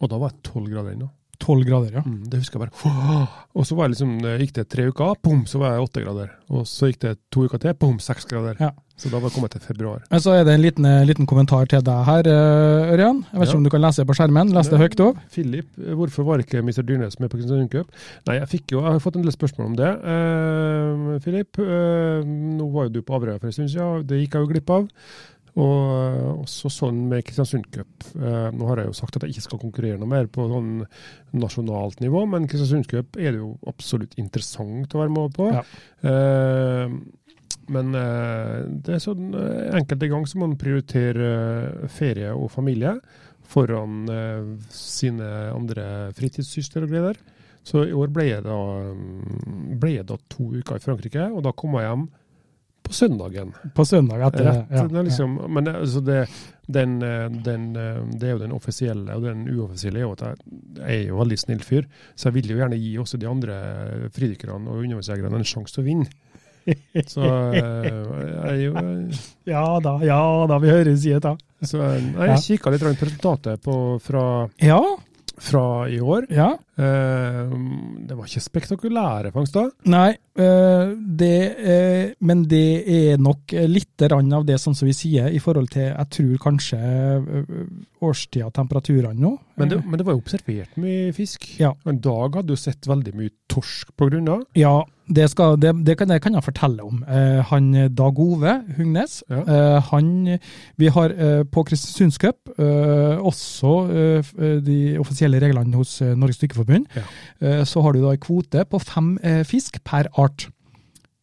Og da var jeg 12 grader ennå.
12 grader, ja.
Mm, det husker jeg bare. «Åh!» Og så var jeg liksom, eh, gikk det tre uker, bom, så var jeg åtte grader. Og så gikk det to uker til, bom, seks grader.
Ja.
Så da var jeg kommet til februar.
Men så er det en liten, eh, liten kommentar til deg her, eh, Ørjan. Jeg vet ikke
Ja.
om du kan lese det på skjermen. Les det
Nei.
høyt opp.
Philip, eh, hvorfor var ikke Mr. Dyrnes med på Kristiansund Cup? Nei, jeg fikk jo, jeg har fått en del spørsmål om det. Eh, Philip, eh, nå var jo du på Averøya for en stund siden, og det gikk jeg jo glipp av. Og eh, også sånn med Kristiansund Cup. Eh, nå har jeg jo sagt at jeg ikke skal konkurrere noe mer på sånn nasjonalt nivå, men Kristiansund Cup er det jo absolutt interessant å være med på.
Ja.
Eh, men eh, det er sånn eh, enkelte ganger så må man prioritere eh, ferie og familie foran eh, sine andre fritidssysler og gleder. Så i år ble jeg, da, mm, ble jeg da to uker i Frankrike, og da kom jeg hjem på søndagen.
På søndag etter
Rett,
ja,
det er liksom, Men det- altså det, den, eh, den, eh, det er jo den offisielle, og den uoffisielle er jo at jeg, jeg er jo veldig snill fyr, så jeg vil jo gjerne gi også de andre fridykkerne og undervannsjegerne en sjanse til å vinne. Så eh, jeg er jo eh,
ja. ja da, ja da, vi høres i et da.
så eh, nei,
Ja.
jeg kikka litt rundt på resultatet på, fra,
Ja,
fra i år.
ja.
Eh, det var ikke spektakulære fangster.
Nei, øh, det, øh, men det er nok litt rann av det sånn som vi sier, i forhold til jeg tror kanskje øh, årstida og temperaturene nå.
Men det, men det var jo observert mye fisk.
Mm. Ja.
Og en dag hadde jo sett veldig mye torsk på grunna.
Ja, det, skal, det, det, kan, det kan jeg fortelle om. Eh, han Dag Ove Hugnes,
Ja.
eh, han Vi har eh, på Kristiansunds Cup eh, også eh, f- eh, de offisielle reglene hos eh, Norges Dykkerforbund.
Ja.
Eh, så har du da en kvote på fem eh, fisk per art.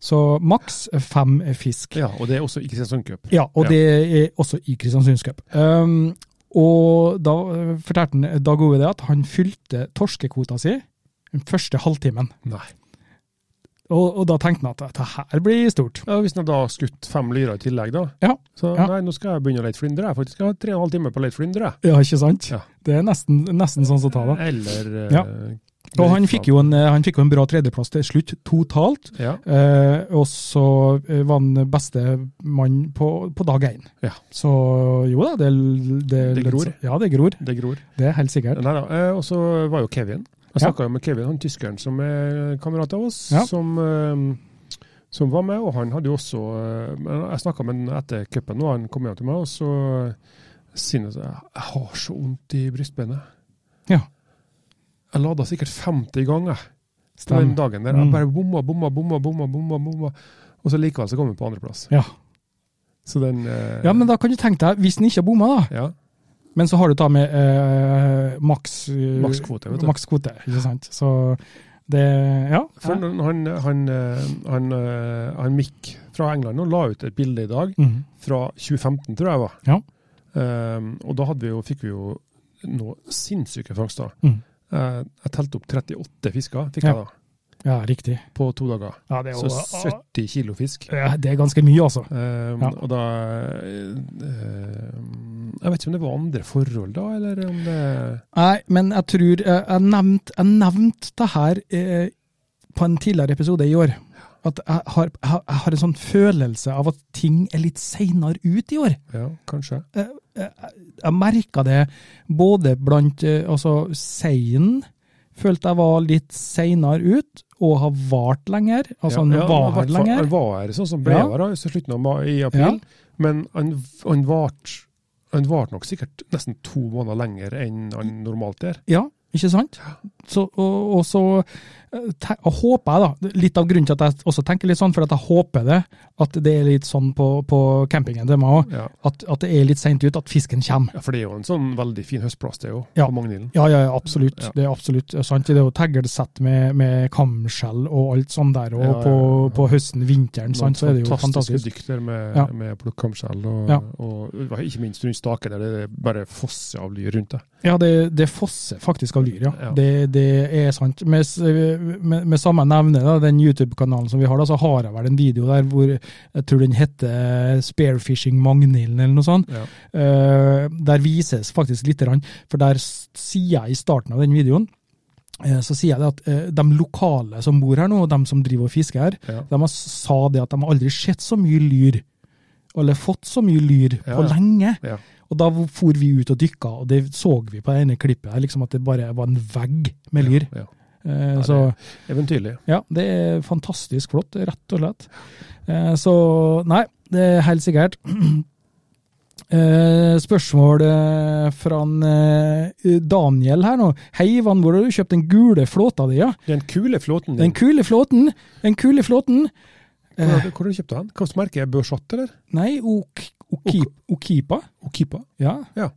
Så maks fem eh, fisk.
Ja, og det er også ikke Kristiansund Cup.
Ja, og
Ja.
det er også i Kristiansunds Cup. Um, eh, og da eh, fortalte han Dag Ove det at han fylte torskekvota si den første halvtimen.
Nei.
Og, og da tenkte han at dette her blir stort.
Ja, Hvis jeg da har skutt fem lyrer i tillegg, da.
Ja.
Så
Ja.
nei, nå skal jeg begynne å lete for indre. Jeg faktisk har tre og en halv time på å lete for indre.
Ja, ikke sant?
Ja.
Det er nesten, nesten sånn som ta det.
Eller eh,
Ja. Og han fikk jo en, eh, han fikk jo en bra tredjeplass til slutt, totalt.
Ja,
Eh, og så eh, var han bestemann på, på dag én.
Ja.
Så jo da, det, det,
Det gror.
Ja, det gror.
det gror.
Det er helt sikkert.
Nei da. eh, Og så var jo Kevin. Jeg
Ja.
snakka jo med Kevin, han tyskeren som er kamerat av oss,
Ja.
som, eh, som var med. Og han hadde jo også eh, men Jeg snakka med han etter cupen, og han kom hjem til meg, og så sier han at jeg har så vondt i brystbenet.
Ja.
Jeg lada sikkert 50 ganger den
Stem.
dagen der.
Mm.
Jeg bare bomma, bomma, bomma, bomma, bomma, bomma. Og så likevel så kom vi på andreplass.
Ja.
Så den eh,
ja, men da kan du tenke deg, hvis han ikke har bomma, da,
ja,
men så har du da med eh, maks eh,
Makskvote, vet du.
maks kvote, ikke sant. Så det Ja.
For når han, han, eh, han, eh, han Mick fra England nå la ut et bilde i dag
Mhm.
fra 2015, tror jeg var.
Ja.
Ehm, og da hadde vi jo, fikk vi jo noe sinnssyke fangster.
Mhm.
Eh, jeg telte opp 38 fisker fikk
Ja.
jeg da,
ja, riktig.
på to dager.
Ja, det er,
Så
jo,
70 kilo fisk.
ja, det er ganske mye, altså.
Ehm,
Ja.
Og da eh, Jeg vet ikke om det var andre forhold da, eller om det
Nei, men jeg tror eh, Jeg nevnte jeg nevnt det her eh, på en tidligere episode i år. At jeg har, jeg har- jeg har en sånn følelse av at ting er litt seinere ut i år.
Ja, kanskje.
Eh, eh, Jeg merka det både blant eh, altså seinen, følte jeg var litt seinere ut, og har vart lenger. Altså han
Ja,
var her
i hvert fall- Han
lenger.
var her, sånn som ble
Ja.
her da, i slutten av mai, i april. Men han, han varte han vart nok sikkert nesten to måneder lenger enn han normalt er.
Ja, ikke sant? Så, og, og så eh, te, og håper jeg, da, litt av grunnen til at jeg også tenker litt sånn, for at jeg håper det, at det er litt sånn på, på campingen til meg òg,
Ja.
at, at det er litt seint ut at fisken kommer.
ja, For det er jo en sånn veldig fin høstplass, det er jo,
Ja.
på Magnhilden.
Ja, ja, ja, absolutt.
Ja.
Det er absolutt sant. Det er jo teglsett med, med kamskjell og alt sånt der, og
Ja, ja, ja.
På, på høsten, vinteren,
Noen
sant, så er det jo fantastisk.
Fantastiske dykter med,
Ja.
med plukkamskjell, og,
Ja.
og hva- ikke minst rundt staken, der det bare fosser av lyr rundt det.
Ja, det, det fosser faktisk av lyr, ja.
Ja.
Det, det er sant. Med, s- med, med samme nevne, da, den YouTube-kanalen som vi har, da, så har jeg vel en video der hvor jeg tror den heter Sparefishing Magnhilden eller noe sånt.
Ja.
Eh, der vises faktisk lite grann, for der s- sier jeg i starten av den videoen eh, så sier jeg det at eh, de lokale som bor her nå, og de som driver og fisker her,
Ja.
de har, s- sa det at de har aldri sett så mye lyr, eller fått så mye lyr
Ja,
på
ja.
lenge.
Ja.
Og da for vi ut og dykka, og det så vi på det ene klippet her, liksom at det bare var en vegg med lyr.
Ja.
Eh,
Ja,
så
Eventyrlig.
ja, det er fantastisk flott, rett og slett. Eh, så nei, det er helt sikkert. Eh, spørsmål eh, fra en, eh, Daniel her nå. Hei, Ivan, hvor har du kjøpt den gule flåta di? Ja?
Den kule flåten din,
Den kule flåten! Den kule flåten!
hvor har du, hvor har du kjøpt den? Hvilket merke er Børsatt, eller?
Nei, ok, ok, Okipa.
Okipa?
Ja.
Ja.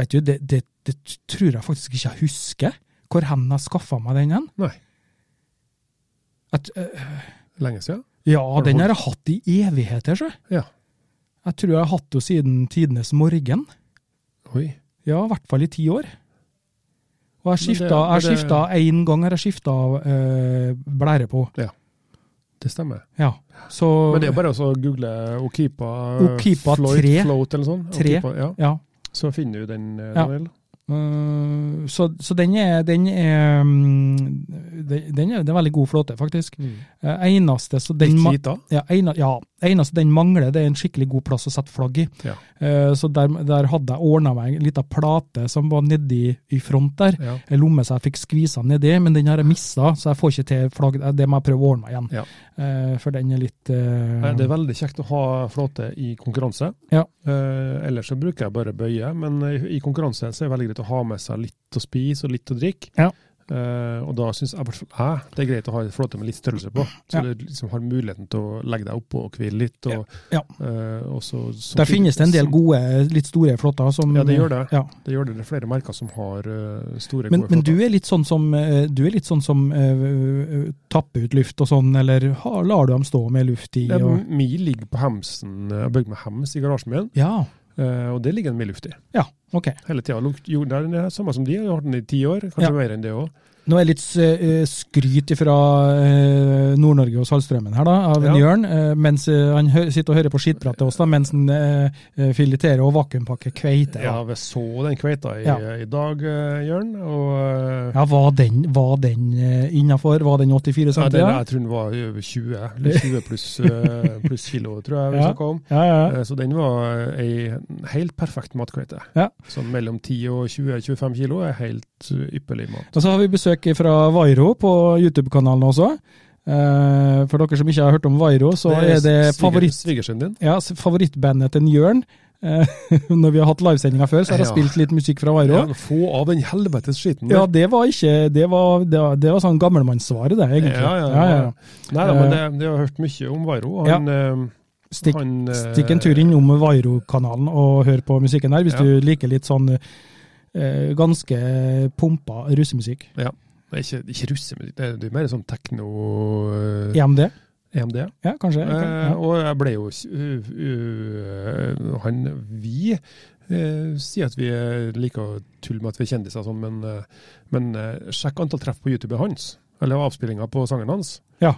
Vet du, det, det, det tror jeg faktisk ikke jeg husker. Hvor hen jeg skaffa meg den hen.
Nei.
At, eh,
Lenge siden?
ja,
du
den
holdt-
har jeg hatt i evigheter, sjø.
Ja.
Jeg tror jeg har hatt den siden tidenes morgen.
Oi.
Ja, i hvert fall i ti år. Og jeg
Men det-
skifta
men
jeg
det-
skifta én gang har jeg skifta eh, blære på.
Det stemmer.
Ja. Så
Men det er jo bare å google Okipa,
Okipa
Floyd,
tre.
Float eller sånn.
Tre.
Okipa, ja.
ja.
Så finner du den, eh,
Ja.
Daniel.
Eh, så, så den er Den er, mm, den den er, det er veldig god flåte, faktisk. Eh, Eneste så den
Litt
ma-
lita.
Ja, ene, ja, eneste den mangler, det er en skikkelig god plass å sette flagg i.
Ja.
Eh, så der, der hadde jeg ordna meg en lita plate som var nedi i front der.
Ja.
En lomme så jeg fikk skvisa nedi, men den har jeg mista, så jeg får ikke til flagg. Det må jeg prøve å ordne meg igjen.
Ja.
Eh, for den er litt eh,
Nei, Det er veldig kjekt å ha flåte i konkurranse.
Ja.
Eh, ellers så bruker jeg bare bøye, men eh, i, i konkurranse så er det veldig greit å ha med seg litt å spise og litt å drikke.
Ja.
Eh, og da syns jeg i hvert fall jeg det er greit å ha en flåte med litt størrelse på, så
Ja.
du liksom har muligheten til å legge deg oppå og hvile litt. Og,
Ja.
eh, og så- så-
Der finnes det en del
som-
gode, litt store flåter. Som,
Ja, det gjør det.
Ja.
Det gjør det. Det er flere merker som har eh, store,
Men,
gode
men du er litt sånn som, eh, du er litt sånn som eh, tapper ut luft og sånn, eller har, lar du dem stå med luft i?
Det er
Og,
eh, Mi ligger på hemsen. Jeg har bygd med hems i garasjen min,
ja,
eh, og det ligger en mi luft i.
Ja, Ok.
hele tida. Jo, det er det samme som de, jeg har hatt den i ti år, kanskje
Ja.
mer enn det òg.
Nå er det litt eh, skryt fra Nord-Norge og Saltstrømmen her, da, av
Ja.
Jørn. eh, mens eh, han hø sitter og hører på skittprat til oss, da, mens han eh, eh, fileterer og vakuumpakker kveite.
Ja,
da.
vi så den kveita i,
Ja.
i dag, eh, Jørn. Og eh,
Ja, Var den, var den eh, innafor? Var den 84
ja,
cm?
den, jeg tror den var i over 20, eller 20 pluss, eh, pluss kilo, tror jeg vi
Ja.
snakka om.
Ja, ja, ja.
Eh, Så den var ei helt perfekt matkveite.
Ja.
Så mellom 10 og 20-25 kilo er helt uh, ypperlig mat.
Og så har vi besøk fra Vairo på YouTube-kanalen også. Eh, for dere som ikke har hørt om Vairo, så er det
sviger-
favoritt...
Svigersønnen din.
Ja, s- favorittbandet til en Jørn. Eh, Når vi har hatt livesendinger før, så har jeg
Ja.
spilt litt musikk fra Vairo.
Ja, få av den helvetes skiten.
Ja, det var ikke Det var, det var, det var sånn gammelmannssvaret, det, egentlig.
Ja, ja,
ja,
ja.
ja.
Nei da, men det, det har jeg hørt mye om Vairo. Han, eh,
Eh. Stikk,
han, eh,
stikk en tur innom Vairo-kanalen og hør på musikken der, hvis
Ja.
du liker litt sånn eh, ganske pumpa russemusikk.
Nei, Ikke, ikke russemusikk, det er- det er mer sånn tekno eh,
EMD?
EMD.
E Ja, kanskje? ok,
Eh,
ja.
og jeg ble jo s- u- u- eh, Han Vi eh, sier at vi eh, liker å tulle med at vi er kjendiser, og sånn, men, eh, men eh, sjekk antall treff på YouTube hans, eller avspillinga på sangen hans.
Ja.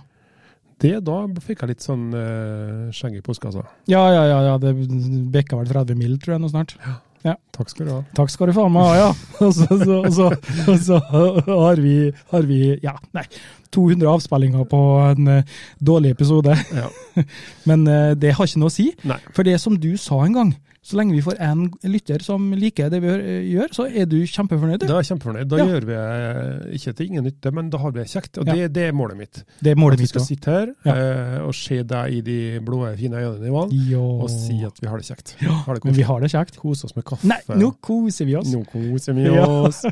Det, da fikk jeg litt sånn eh, skjegg i postkassa.
ja, ja, ja, ja. Det bikka vel 30 mil, tror jeg, nå snart.
Takk skal du ha.
Takk skal du faen meg ha, ja. Og så, så, og så, og så har, vi, har vi ja, nei, 200 avspillinger på en eh, dårlig episode.
Ja.
Men eh, det har ikke noe å si.
Nei.
For det som du sa en gang, så lenge vi får én lytter som liker det vi gjør- gjør, så er du kjempefornøyd. du.
Da er jeg kjempefornøyd. Da
Ja.
gjør vi eh, ikke til ingen nytte, men da har vi det kjekt. Og
Ja.
det, det er målet mitt.
Det er målet
at vi
mitt
skal
òg.
sitte her
Ja.
eh, og se deg i de blå, fine øynene i vann, og si at vi har det kjekt. Har det
Men vi har det kjekt.
Kose oss med kaffe.
Nei, nå koser vi oss.
Nå koser vi
Ja.
oss.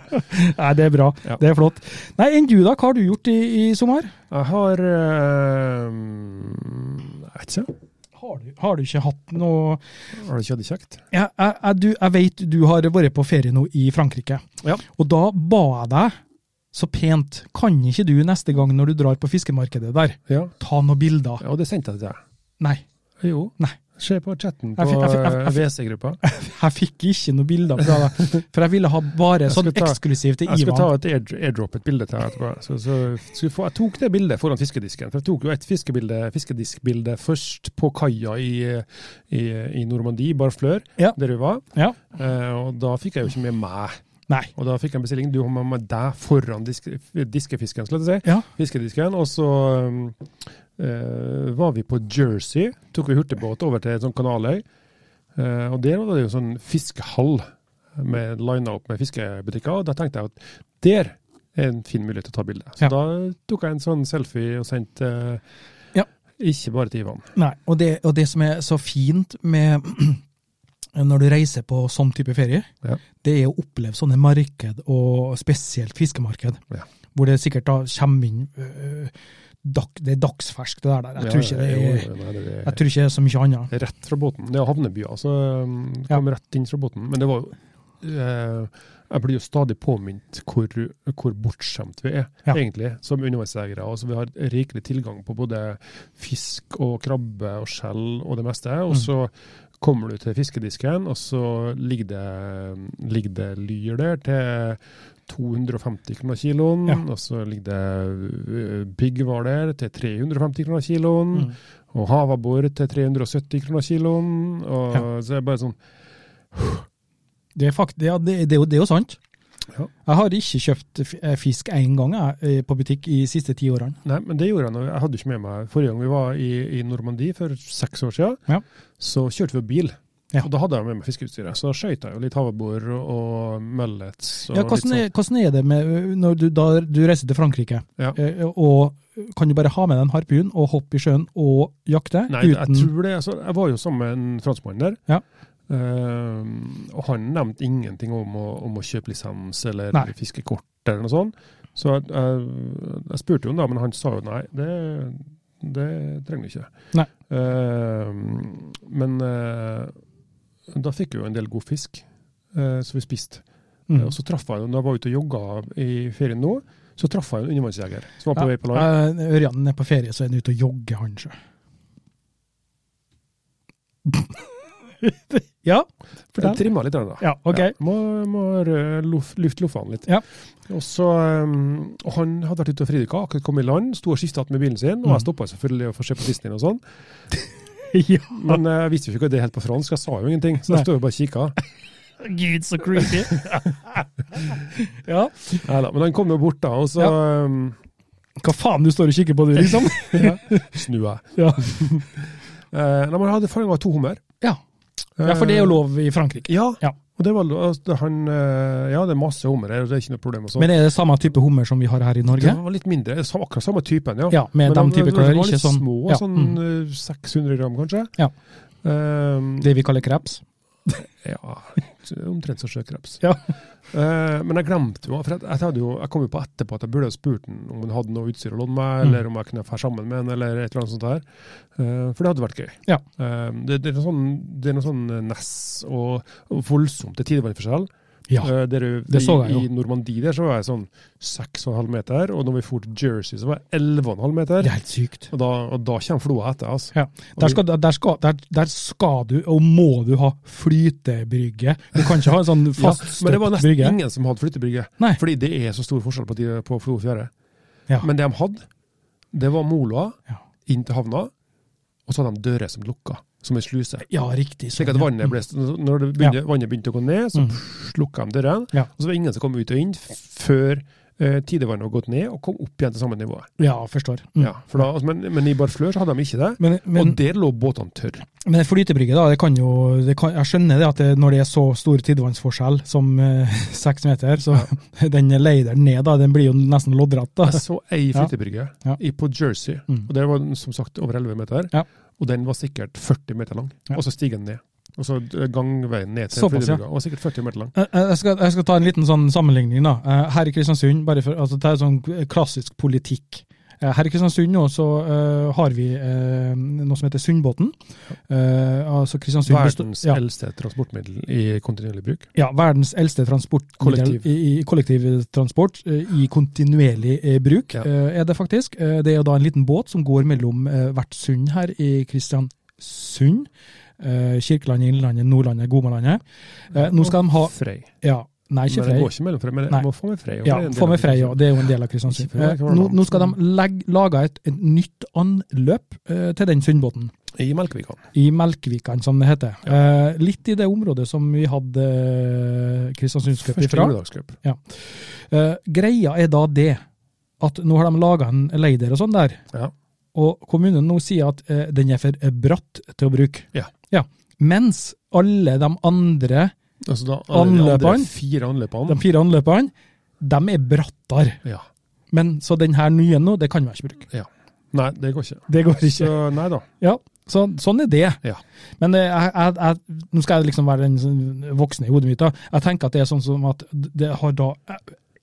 Nei, det er bra.
Ja.
Det er flott. Nei, enn du, da? Hva har du gjort i, i sommer?
Jeg har eh, Jeg vet ikke.
Har du, har du ikke hatt noe
Har du ikke hatt det kjekt?
jeg, jeg, jeg, du, jeg vet du har vært på ferie nå i Frankrike.
Ja.
Og da ba jeg deg så pent, kan ikke du neste gang når du drar på fiskemarkedet der,
Ja.
ta noen bilder?
ja, det sendte jeg til deg.
Nei,
Jo.
Nei.
Se på chatten på
Jeg fikk- jeg fikk- jeg- jeg
WC-gruppa.
jeg fikk ikke noen bilder fra deg. For jeg ville ha bare
Jeg skal
sånn
ta-
eksklusivt til
Jeg skal ta
Ivan.
et air- airdrop et bilde til deg etterpå. Så, så, skal vi få, jeg tok det bildet foran fiskedisken. For jeg tok jo et fiskebilde, fiskediskbilde først på kaia i, i, i Normandie, Barfleur,
Ja.
der vi var.
Ja.
Eh, og da fikk jeg jo ikke med meg.
Nei.
Og da fikk jeg en bestilling. Du har med meg deg foran diske, diskefisken, skal jeg si.
Ja.
fiskedisken. Og så um, eh, var vi på Jersey. Tok vi hurtigbåt over til et sånt kanaløy. Eh, og der var det jo sånn fiskehall med lina opp med fiskebutikker. Og da tenkte jeg at der er en fin mulighet til å ta bilde. Så
Ja.
da tok jeg en sånn selfie og sendte eh,
Ja.
Ikke bare til Ivan.
Nei. Og, det, og det som er så fint med når du reiser på sånn type ferie,
Ja.
det er å oppleve sånne marked, og spesielt fiskemarked,
Ja.
hvor det sikkert da kommer inn øh, dag, Det er dagsferskt, det der. der. Jeg, tror ikke det er,
Jo, nei, det er-
jeg tror ikke det er så mye annet.
Rett fra båten. Det er havneby, altså. um, Kom rett inn fra båten. Men det var jo eh, Jeg blir jo stadig påminnet hvor, hvor bortskjemt vi er,
Ja.
egentlig, som undervannsjegere. Altså, vi har rikelig tilgang på både fisk og krabbe og skjell og det meste. Og
Mm.
så kommer du til fiskedisken, og så ligger det, ligger det lyr der til 250 kroner kiloen,
Ja.
og så ligger det ø, piggvar der til 350 kroner kiloen.
Mm.
Og havabbor til 370 kroner kiloen. Og
Ja.
Så er det bare sånn
Det er, fakt, ja, det, det, er jo, det er jo sant.
Ja.
Jeg har ikke kjøpt f- eh, fisk én gang jeg, eh, på butikk i de siste ti årene.
Nei, men det gjorde jeg nå. Jeg hadde jo ikke med meg Forrige gang vi var i, i Normandie, for seks år siden,
Ja.
så kjørte vi bil.
Ja.
Og da hadde jeg med meg fiskeutstyret. Så da skøyt jeg jo litt havabbor og, og mullets. Og
Ja, hvordan,
litt sånn.
er, hvordan er det med, ø, når du, da, du reiser til Frankrike,
Ja.
eh, og kan du bare ha med deg en harpun og hoppe i sjøen og jakte?
Nei, jeg tror det. Altså, jeg var jo sammen med en franskmann der.
Ja.
Eh, og han nevnte ingenting om å, om å kjøpe lisens eller
Nei.
fiskekort eller noe sånt. Så jeg, jeg, jeg spurte jo han da, men han sa jo nei, det, det trenger du ikke.
Nei.
Eh, men eh, da fikk jeg jo en del god fisk, eh, så vi spiste.
Mm.
Og så traff jeg jo, når jeg var ute og jogga i ferien nå, så traff jeg en undervannsjeger som var på
Ja,
vei på land.
eh, Ørjan er på ferie, så er han ute og jogger, han sjøl. Ja,
Jeg
fortell.
trimma litt, der, da.
Ja, ok.
Ja, må må rø- luft- lufte loffene litt.
Ja.
Og så, um, og han hadde vært ute og fridykka, akkurat kom i land, sto og skifta med bilen sin.
Mm.
Og jeg stoppa selvfølgelig for å se på Disney og sånn,
Ja.
men eh, jeg visste jo ikke hva det het på fransk, jeg sa jo ingenting. Så
Nei.
jeg står jo bare og kikker.
Gud, så creepy. ja.
Neida, men han kom jo bort da, og så um,
Hva faen du står og kikker på, du, liksom?
snur jeg.
Ja.
Eh, nei, men han hadde fanga to hummer. Eh,
ja. ja, for det er jo lov i Frankrike.
Ja.
Ja.
Og det var, lo- altså, han, eh, ja, det er masse hummer her, og det er ikke noe problem. og sånn.
Men er det samme type hummer som vi har her i
Det
Norge?
var litt mindre, det er sam- akkurat samme typen, ja.
Ja, med
Men
de type klør,
var
ikke
litt
sånn
små,
ja,
sånn
mm.
eh, 600 gram kanskje.
Ja.
Ehm,
Det vi kaller kreps.
ja, omtrent som sjøkreps.
Ja.
Eh, men jeg glemte jo, for jeg, jeg, hadde jo, jeg kom jo på etterpå at jeg burde ha spurt han om han hadde noe utstyr å låne meg,
Mm.
eller om jeg kunne fære sammen med han, eller et eller annet sånt her. Eh, for det hadde vært gøy.
Ja.
Eh, det, det er noe sånn, det er noe sånn eh, ness og, og voldsomt til tidevannsforskjell.
Ja.
Eh, der, i-
Det så jeg jo.
I Normandie der så var jeg sånn 6,5 meter, og når vi for til Jersey så var jeg 11,5 meter.
Det er helt sykt.
Og da, og da kommer floa etter, altså.
Ja. Der, skal, der, skal, der, der skal du, og må du, ha flytebrygge. Du kan ikke ha en sånn
Ja, men
faststøpt
det var nesten
brygge.
ingen som hadde flyttebrygge.
Nei.
Fordi det er så stor forskjell på, de, på Flo og Fjære.
Ja.
Men det de hadde, det var moloa
Ja.
inn til havna, og så hadde de dører som lukka, som en sluse.
ja, riktig.
Slik at vannet ble, når det begynte, vannet begynte å gå ned, så
Mm.
pff, lukka de dørene.
Ja.
Og så var det ingen som kom ut og inn f- før eh, tidevannet hadde gått ned og kom opp igjen til samme nivå.
Ja, forstår. Mm.
Ja, for da, altså, men, men i Barflør så hadde de ikke det.
Men, men,
og der lå båtene tørre.
men flytebrygge, da, det kan jo det kan, Jeg skjønner det at det, når det er så stor tidevannsforskjell som eh, seks meter, så den leideren ned, da, den blir jo nesten loddrett. da.
Jeg så ei
Ja.
flyttebrygge
Ja.
i- på Jersey,
Mm.
og der var den som sagt over 11 meter.
Ja.
Og den var sikkert 40 meter lang.
Ja.
Og så stiger den ned. Og så gangveien ned til
Såpass, ja.
flyttebrygga. Og sikkert 40 meter lang.
Jeg- Eh, Jeg skal, jeg skal ta en liten sånn sammenligning. da. Eh, Her i Kristiansund, bare for, altså, det er sånn klassisk politikk. Eh, Her i Kristiansund nå så eh, har vi eh, noe som heter Sundbåten. Eh, altså Kristiansund består-
Verdens
ja,
eldste transportmiddel i kontinuerlig bruk.
ja, verdens eldste transport
Kollektiv.
I, i kollektivtransport eh, i kontinuerlig eh, bruk,
Ja.
eh, er det faktisk. Eh, det er jo da en liten båt som går mellom eh, hvert sund her i Kristiansund. eh, Kirkelandet, Innlandet, Nordlandet, Gomalandet. Eh, nå skal de ha
Frei.
Ja, nei, ikke
men det
Frei.
går ikke mellom Frei, men
Nei.
jeg må få med Frei. og
Ja,
Frei er en del
få med
av
Frei òg, det er jo en del av Kristiansund.
Ikke for meg,
Eh,
for
Nå,
meg.
nå skal de legge, lage et, et nytt anløp eh, til den Sundbåten,
I Melkevika.
i Melkvikan som det heter. Eh, litt i det området som vi hadde eh, Kristiansundscup
Første
ifra.
juledagscup.
Eh, greia er da det at nå har de laga en leider og sånn der,
Ja.
og kommunen nå sier at eh, den er for eh, bratt til å bruke.
Ja.
Mens alle de andre,
Altså da, alle de andre
Anløpene?
Fire anløpene.
de fire anløpene, de er brattere.
Ja.
Men så den her nye nå, det kan vi ikke bruke.
Nei, det går ikke.
Det går ikke.
Så nei da.
Ja, så, sånn er det.
Ja.
Men eh, jeg, jeg, jeg, nå skal jeg liksom være den sånn voksne i hodet mitt. da. Jeg tenker at det er sånn som at det har da eh,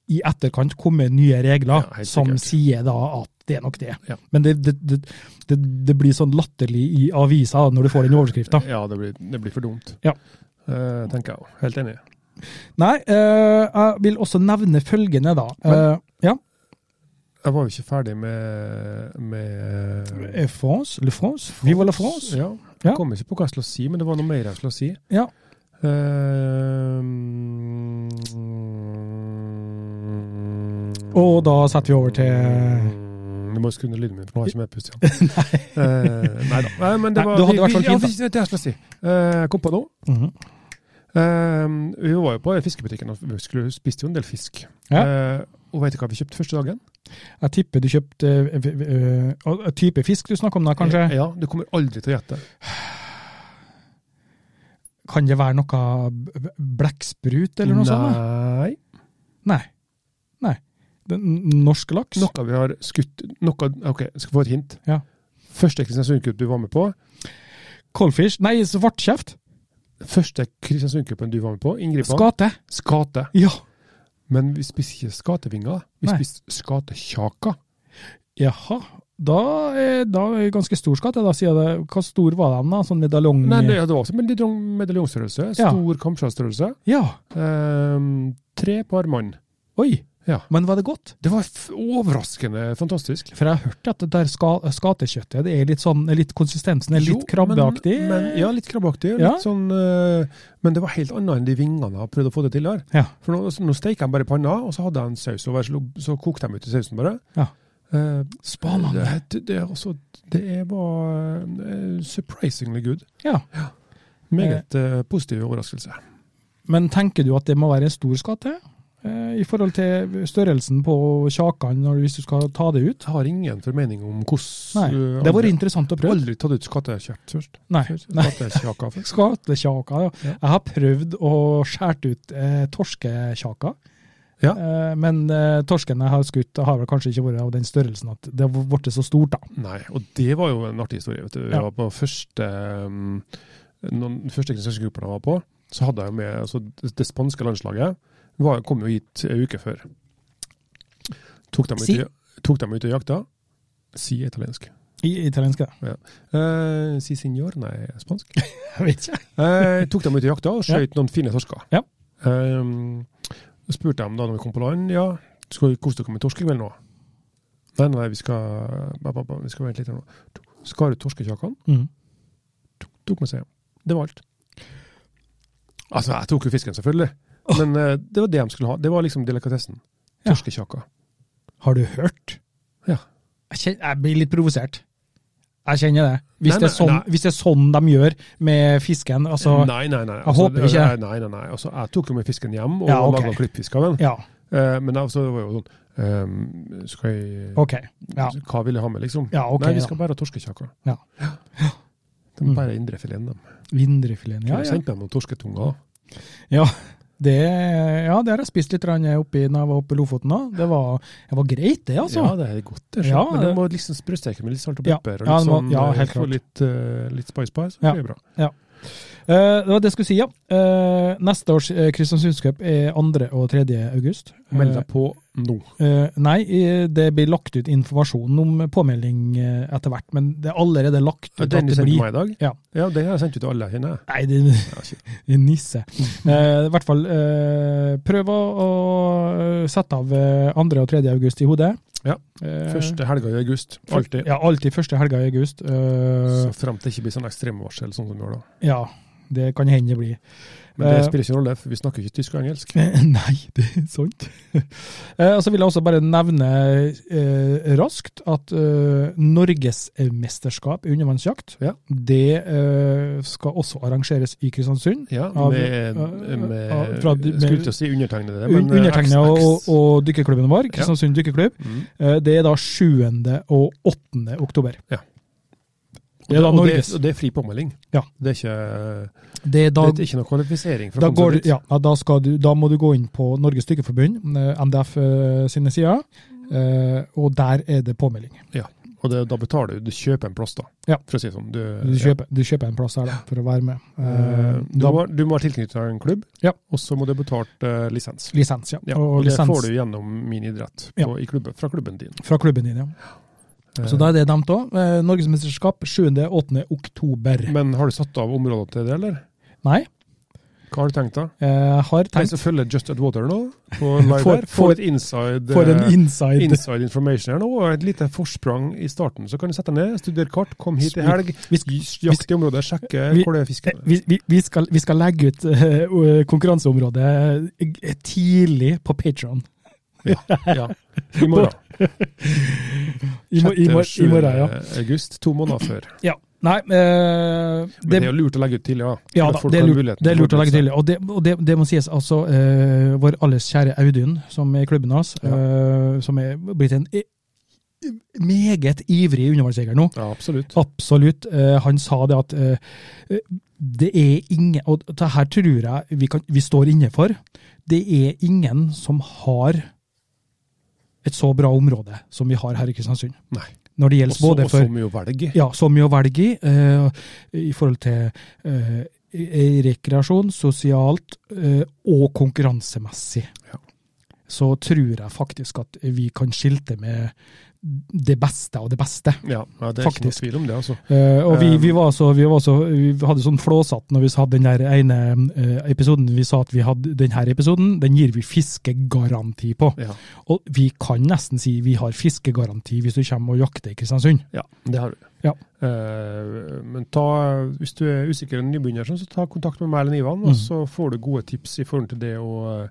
i etterkant kommet nye regler
Ja, helt
som
sikkert.
sier da at det er nok det.
Ja.
Men det, det, det, det, det blir sånn latterlig i avisa da, når du får den overskrifta.
Ja, det blir, det blir for dumt.
Ja.
Eh, tenker jeg òg. Helt enig.
Nei, eh, jeg vil også nevne følgende, da. Eh, ja.
Jeg var jo ikke ferdig med, med
Eh, France, Le France, Viva la France.
Ja.
Ja.
Jeg kom ikke på hva jeg skulle si, men det var noe mer jeg skulle si.
Ja.
Eh,
Og da setter vi over til
Du må skru ned lyden min, for nå har jeg ikke mer pust igjen. Eh, nei da. Nei,
Nei,
men det var
du hadde i hvert fall
vi, ja,
fint, da.
vi- det er det jeg skulle si. Eh, jeg kom på nå.
Mhm.
Eh, vi var jo på fiskebutikken, og vi skulle, spiste jo en del fisk.
Ja.
Eh, og vet du hva vi kjøpte første dagen?
Jeg tipper du kjøpte eh, v- v- eh, type fisk du snakker om da, kanskje?
Eh, Ja, du kommer aldri til å gjette.
Kan det være noe b- b- blekksprut eller noe sånt? da?
Nei.
Nei. Nei. Det er n- norsk laks?
Noe vi har skutt noe, Ok, jeg skal få et hint.
Ja.
Første Kristiansund-cup du var med på,
Coldfish? Nei, svartkjeft?
første Kristiansund-cupen du var med på, inngripen
Skate?
Skate.
Ja.
Men vi spiste ikke skatevinger, vi
Nei.
spiste skatekjaka.
Jaha. Da er, da er det ganske stor skate, da, sier jeg det. Hvor stor var den, da? Sånn medaljong...
Nei, det, det var også medaljong- medaljongstørrelse.
Ja.
Stor kamskjellstørrelse.
Ja.
Ehm, tre par mann.
Oi.
Ja.
Men var det godt?
Det var f overraskende fantastisk.
For jeg har hørt at det der ska, skatekjøttet det er litt sånn, litt konsistensen er litt
Jo,
krabbeaktig.
Men, men, ja, litt krabbeaktig.
Ja.
Litt sånn, eh, men det var helt annet enn de vingene jeg har prøvd å få det til der.
Ja.
For nå, nå steiker jeg bare panna, og så hadde jeg en saus over, så, lo- så kokte jeg ut i sausen bare.
Ja.
Eh,
Spanende.
Det, det, er altså, det er var eh, surprisingly good.
Ja.
Meget eh, positiv overraskelse.
Men tenker du at det må være en stor skate? eh, I forhold til størrelsen på kjakene når- hvis du skal ta det ut?
Jeg har ingen formening om
Nei,
hvordan
Det
eh,
hadde vært
andre-
interessant å prøve.
Aldri tatt ut skattekjøtt først.
Nei. nei.
Skattekjaka først.
Skatekjaka, ja.
Ja.
Jeg har prøvd å skjære ut eh, torskekjaka.
Ja.
Eh, men eh, torsken jeg har skutt, har vel kanskje ikke vært av den størrelsen at det har blitt så stort, da.
Nei, og det var jo en artig historie. vet du.
Ja.
Jeg var på første, um, noen, første krigsgruppen jeg var på, så hadde jeg jo med altså, det, det spanske landslaget. Var, kom jo hit en uke før. Tok dem ut,
Si.
i, tok dem ut og jakta. Si italiensk.
I italiensk, ja.
Eh, si signor, nei, spansk.
Jeg vet ikke.
Eh, tok dem ut og jakta og skjøt noen fine torsker.
Ja.
Ehm, spurte dem da når vi kom på land, ja, skal vi kose dere med torsk i kveld nå? Nei, nei, vi skal, ba, ba, ba, vi skal vente litt her nå. Skar ut torskekjakene,
Mm.
tok med seg hjem. Det var alt. Altså, jeg tok jo fisken selvfølgelig, men eh, det var det de skulle ha. Det var liksom delikatessen.
Ja.
Torskekjaka.
Har du hørt?
Ja.
Jeg, kjen- jeg blir litt provosert. Jeg kjenner det. Hvis,
Nei,
det er
nei,
sånn,
nei.
hvis det er sånn de gjør med fisken, altså
Eh, nei, nei, nei.
håper ikke.
Nei, nei, nei. Altså, jeg tok jo med fisken hjem og
Ja, ok.
laget klippfisk av den.
Ja,
Eh, men altså, det var jo sånn, ehm, skal jeg...
OK. Ja,
Hva vil jeg ha med, liksom?
ja ok.
Nei, vi
da.
skal bare ha torskekjaker.
Ja.
De må bare ha indrefileten, de.
Vindrefileten, ja.
Jeg
ja.
sendte dem noen torsketunger.
Det, ja, det har jeg spist litt grann oppi når jeg var oppe i Lofoten. da. Det var, det var greit, det, altså.
Ja, det er godt. Det er
Ja,
skjønt. Men de
det-
må liksom sprøsteke med litt salt og
Ja.
pepper,
Ja,
og litt
det må-
sånn,
ja,
eh,
helt
få
klart.
litt, eh, litt spice spice, så
Ja.
blir det bra.
Eh, det var det jeg skulle si, ja. Eh, neste års eh, Kristiansundscup er 2. og 3. august.
Meld deg på nå.
Eh, nei, eh, det blir lagt ut informasjon om påmelding eh, etter hvert, men det er allerede lagt ut
Den
at det
du sendte
blir
meg i dag?
Ja.
den har jeg sendt ut til alle jeg kjenner.
Nei, det
Ja, shit.
det er nisse. Eh, I hvert fall, eh, prøv å å sette av eh, 2. og 3. august i hodet.
Ja.
Eh,
Første helga i august. Alltid.
Ja, alltid første helga i august. Eh,
Så frem til det ikke blir sånn ekstremvarsel, sånn som vi gjør da.
ja, det kan hende det blir.
Men det
Eh,
spiller ikke rolle, for vi snakker ikke tysk og engelsk.
Nei, det er sant. Eh, Og så vil jeg også bare nevne eh, raskt at eh, norgesmesterskap i undervannsjakt,
Ja.
det eh, skal også arrangeres i Kristiansund.
Ja,
Av-
med,
eh,
med,
av- fra- med-
Skulle til å si undertegnede, men
Un-
eh,
Undertegnet
X-
og,
X-
og, og dykkerklubben vår, Kristiansund dykkerklubb,
Mm.
eh, det er da 7. og 8. oktober.
Ja.
Det er da
og
Norges.
Det, og det er fri påmelding.
Ja.
Det er ikke,
Det er da
det er ikke noe kvalifisering. For
da,
å komme
går,
seg dit.
ja, da, skal du, da må du gå inn på Norges Dykkerforbund, eh, MDF eh, sine sider, eh, og der er det påmelding.
Og det, da betaler du, du kjøper en plass, da.
Ja.
For å si det sånn. Du,
Du kjøper, du kjøper en plass her da, for å være med.
ja.
Eh,
Eh, du,
da,
må, du må ha tilknyttet en klubb,
Ja.
og så må du ha betalt eh, lisens.
lisens, ja.
Ja,
og,
og det
lisens
får du gjennom Min idrett på,
Ja.
i klubben, fra klubben din.
fra klubben din, ja.
Eh,
Så da er det nevnt òg. Eh, Norgesmesterskap 7.-8. oktober.
Eh, Men har du satt av områder til det, eller?
Nei, eh,
Hva har du tenkt da?
jeg har
De
tenkt
som følger Just At Water nå, på live
Får-
her, får
får-
litt inside,
for en
eh,
inside.
inside information her nå, og et lite forsprang i starten. Så kan du sette deg ned, studere kart, kom hit i helg,
Vi, sk-
jakt i området, sjekke
vi-
hvor det er fisken.
vi, vi, vi, skal, vi skal legge ut eh, konkurranseområdet eh, tidlig på Patron.
Ja. I morgen.
I, mor- i, mor- i morgen, ja.
7. august, to måneder før.
Ja. Nei, eh,
Men det
det,
er jo lurt å legge ut tidlig, ja.
ja,
For
da,
folk
det, er
har
lurt,
muligheten
det er
til
lurt å legge
forberede
tydelig. Og det, og det, det må sies, altså eh, Vår alles kjære Audun, som er i klubben hans,
Ja.
eh, som er blitt en i- meget ivrig undervannsjeger nå.
seg. Ja, absolutt.
Absolutt. Eh, han sa det at eh, eh, det er ingen Og det her tror jeg vi, kan, vi står inne for. Det er ingen som har et så bra område som vi har her i Kristiansund.
Nei.
Når det gjelder
Også,
både
og
for
så mye å velge.
ja, så mye å velge i eh, i forhold til eh, i- i rekreasjon, sosialt eh, og konkurransemessig.
Ja.
Så tror jeg faktisk at vi kan skilte med det beste av det beste.
Ja, ja det er ikke noe
Faktisk.
tvil om det, altså.
Eh, og vi,
Um,
vi, var så, vi, var så, vi hadde sånn flåsatt når vi hadde den der ene eh, episoden. Vi sa at vi hadde denne episoden, den gir vi fiskegaranti på.
Ja,
Og vi kan nesten si vi har fiskegaranti hvis du kommer og jakter i Kristiansund.
ja det har du.
Ja.
Eh, men ta, hvis du er usikker og nybegynner, sånn, så ta kontakt med meg eller Ivan,
Mm.
og så får du gode tips i forhold til det å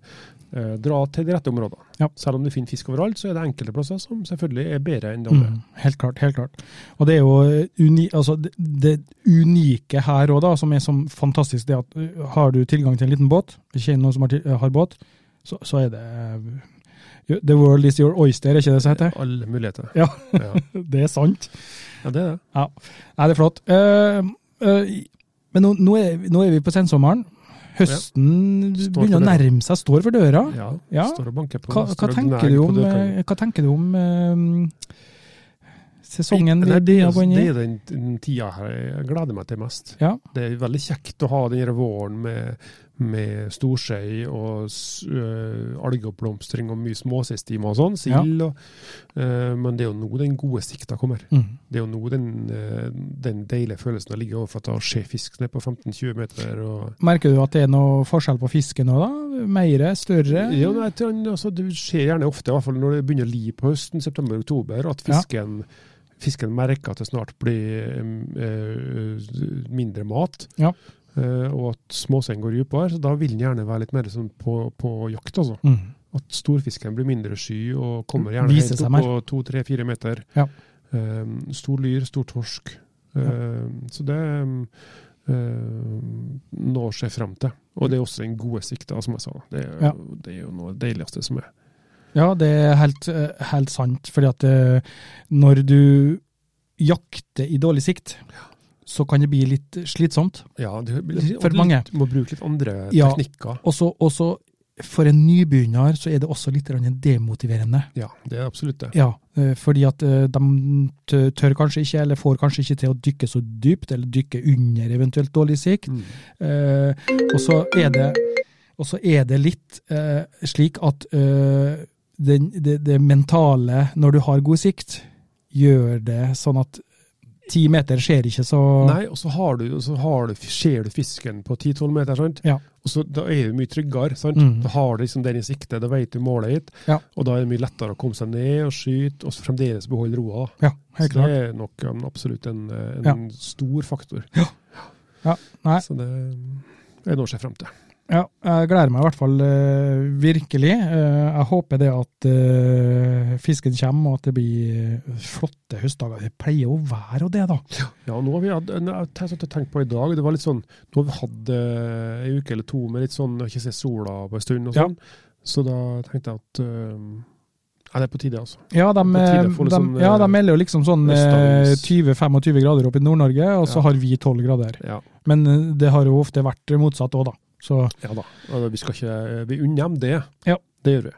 eh, dra til de rette områdene.
Ja.
Selv om du finner fisk overalt, så er det enkelte plasser som selvfølgelig er bedre enn det andre.
Mm, helt klart. helt klart. Og det er jo uni, altså det, det unike her òg, som er så fantastisk, det at uh, har du tilgang til en liten båt, kjenner noen som har, til- har båt, så, så er det uh, The world is your oyster, er ikke det som heter?
Alle muligheter.
Ja.
ja.
Det er sant.
Ja, det er det.
Nei, det er flott. Eh, eh, men nå, nå, er, nå er vi på sensommeren. Høsten
Står for
begynner å
døra.
nærme seg, står for døra.
Ja,
Ja.
Står og banker på.
Hva, hva,
står og
tenker
gnæger
du
på
om,
dørkarmen.
eh, hva tenker du om eh, sesongen vi
Nei, det,
begynner å
er-
gå inn i?
det er den, den tida her jeg gleder meg til mest.
Ja.
Det er veldig kjekt å ha denne våren med, med storskei og s- øh, algeoppblomstring og mye småseistimer og sånn, sild. og- øh, men det er jo nå den gode sikta kommer.
Mm.
Det er jo nå den, øh, den deilige følelsen å ligge i overflata og se fisk ned på 15-20 meter. og
Merker du at det er noe forskjell på fisken nå, da? Meire, større?
Ja, nei, til- altså, det skjer gjerne ofte, i hvert fall når det begynner å li på høsten, september-oktober, at
Ja.
fisken, fisken merker at det snart blir eh, eh, mindre mat.
Ja.
Eh, og at småseien går dypere, så da vil den gjerne være litt mer sånn på, på jakt. altså.
Mm.
At storfisken blir mindre sky og kommer gjerne
Viser
helt
seg
opp på to-tre-fire meter.
Ja.
Eh, stor lyr, stor torsk. Eh, Så det eh, når seg frem til. Og det er også den gode sikta, som jeg sa. Det er,
Ja.
det er jo noe av det deiligste som er.
Ja, det er helt, eh, helt sant. Fordi at eh, når du jakter i dårlig sikt, så kan det bli litt slitsomt.
Ja, det, og
For
du
mange.
må bruke litt andre
Ja.
teknikker.
Og så- og så for en nybegynner så er det også litt grann demotiverende.
Ja, det er absolutt det.
Ja, eh, fordi at eh, de tø- tør kanskje ikke, eller får kanskje ikke til å dykke så dypt, eller dykke under eventuelt dårlig sikt.
Mm.
Eh, og så er det og så er det litt eh, slik at eh, den, det, det mentale, når du har god sikt, gjør det sånn at ti meter skjer ikke så
Nei, og så, har du, og så har du, ser du fisken på 10-12 meter, sant?
Ja.
og så da er du mye tryggere. sant?
Mm.
Da har du liksom den i sikte, da vet du målet ditt,
Ja.
og da er det mye lettere å komme seg ned og skyte, og så fremdeles beholde roa. da.
Ja, helt
Så
klart.
det er nok um, absolutt en, eh, en
Ja.
stor faktor.
Ja, nei.
Så det er noe å se frem til.
Ja, jeg gleder meg i hvert fall eh, virkelig. Eh, jeg håper det at eh, fisken kommer, og at det blir eh, flotte høstdager. Det pleier å være og det, da.
Ja, nå har vi hatt, en- jeg har satt og tenkt på i dag, det var litt sånn, nå har vi hatt eh, en uke eller to med litt sånn, å ikke se sola på en stund og
Ja.
sånn, så da tenkte jeg at eh, ja, det er på tide altså.
Ja, de,
Det er på tide å få litt
de,
sånn,
ja, de
eh,
melder jo liksom sånn eh,
østdagens-
20-25 grader opp i Nord-Norge, og så
Ja.
har vi 12 grader.
Ja,
Men eh, det har jo ofte vært motsatt òg, da. Så
ja da, Og vi skal ikke, eh, vi unngjem det,
Ja.
det gjør vi.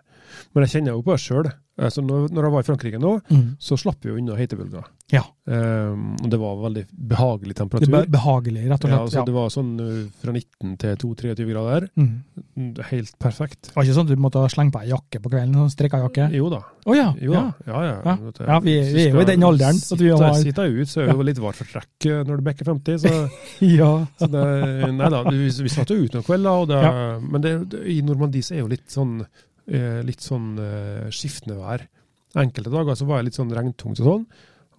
Men jeg kjenner jo på det selv, altså, når, når jeg var i Frankrike nå,
mm,
så slapp vi jo unna heitebølga.
ja.
Eh, og det var veldig behagelig
Det
temperatur.
er be- behagelig, rett og
Ja,
slett.
altså,
Ja,
Det var sånn ø, fra 19 til 22-23 grader.
mm.
Helt perfekt.
Det var ikke sånn at du måtte slenge på ei jakke på kvelden? Sånn strikka jakke?
Jo da.
Å ja.
Jo
ja.
da. Mm. Ja, ja.
Ja.
Vet du,
Ja, vi-
hvis
vi er jo
skal
i den alderen at vi
sitte-
har-
Sitter jeg ut, så er det jo litt vart for trekk ø, når du bikker 50. Så,
ja.
så det, nei da, vi, vi satt jo ut noen kvelder, og det,
Ja.
men det, det, i Normandie så er jo litt sånn, ø, litt sånn ø, skiftende vær. Enkelte dager så var jeg litt sånn regntungt og sånn.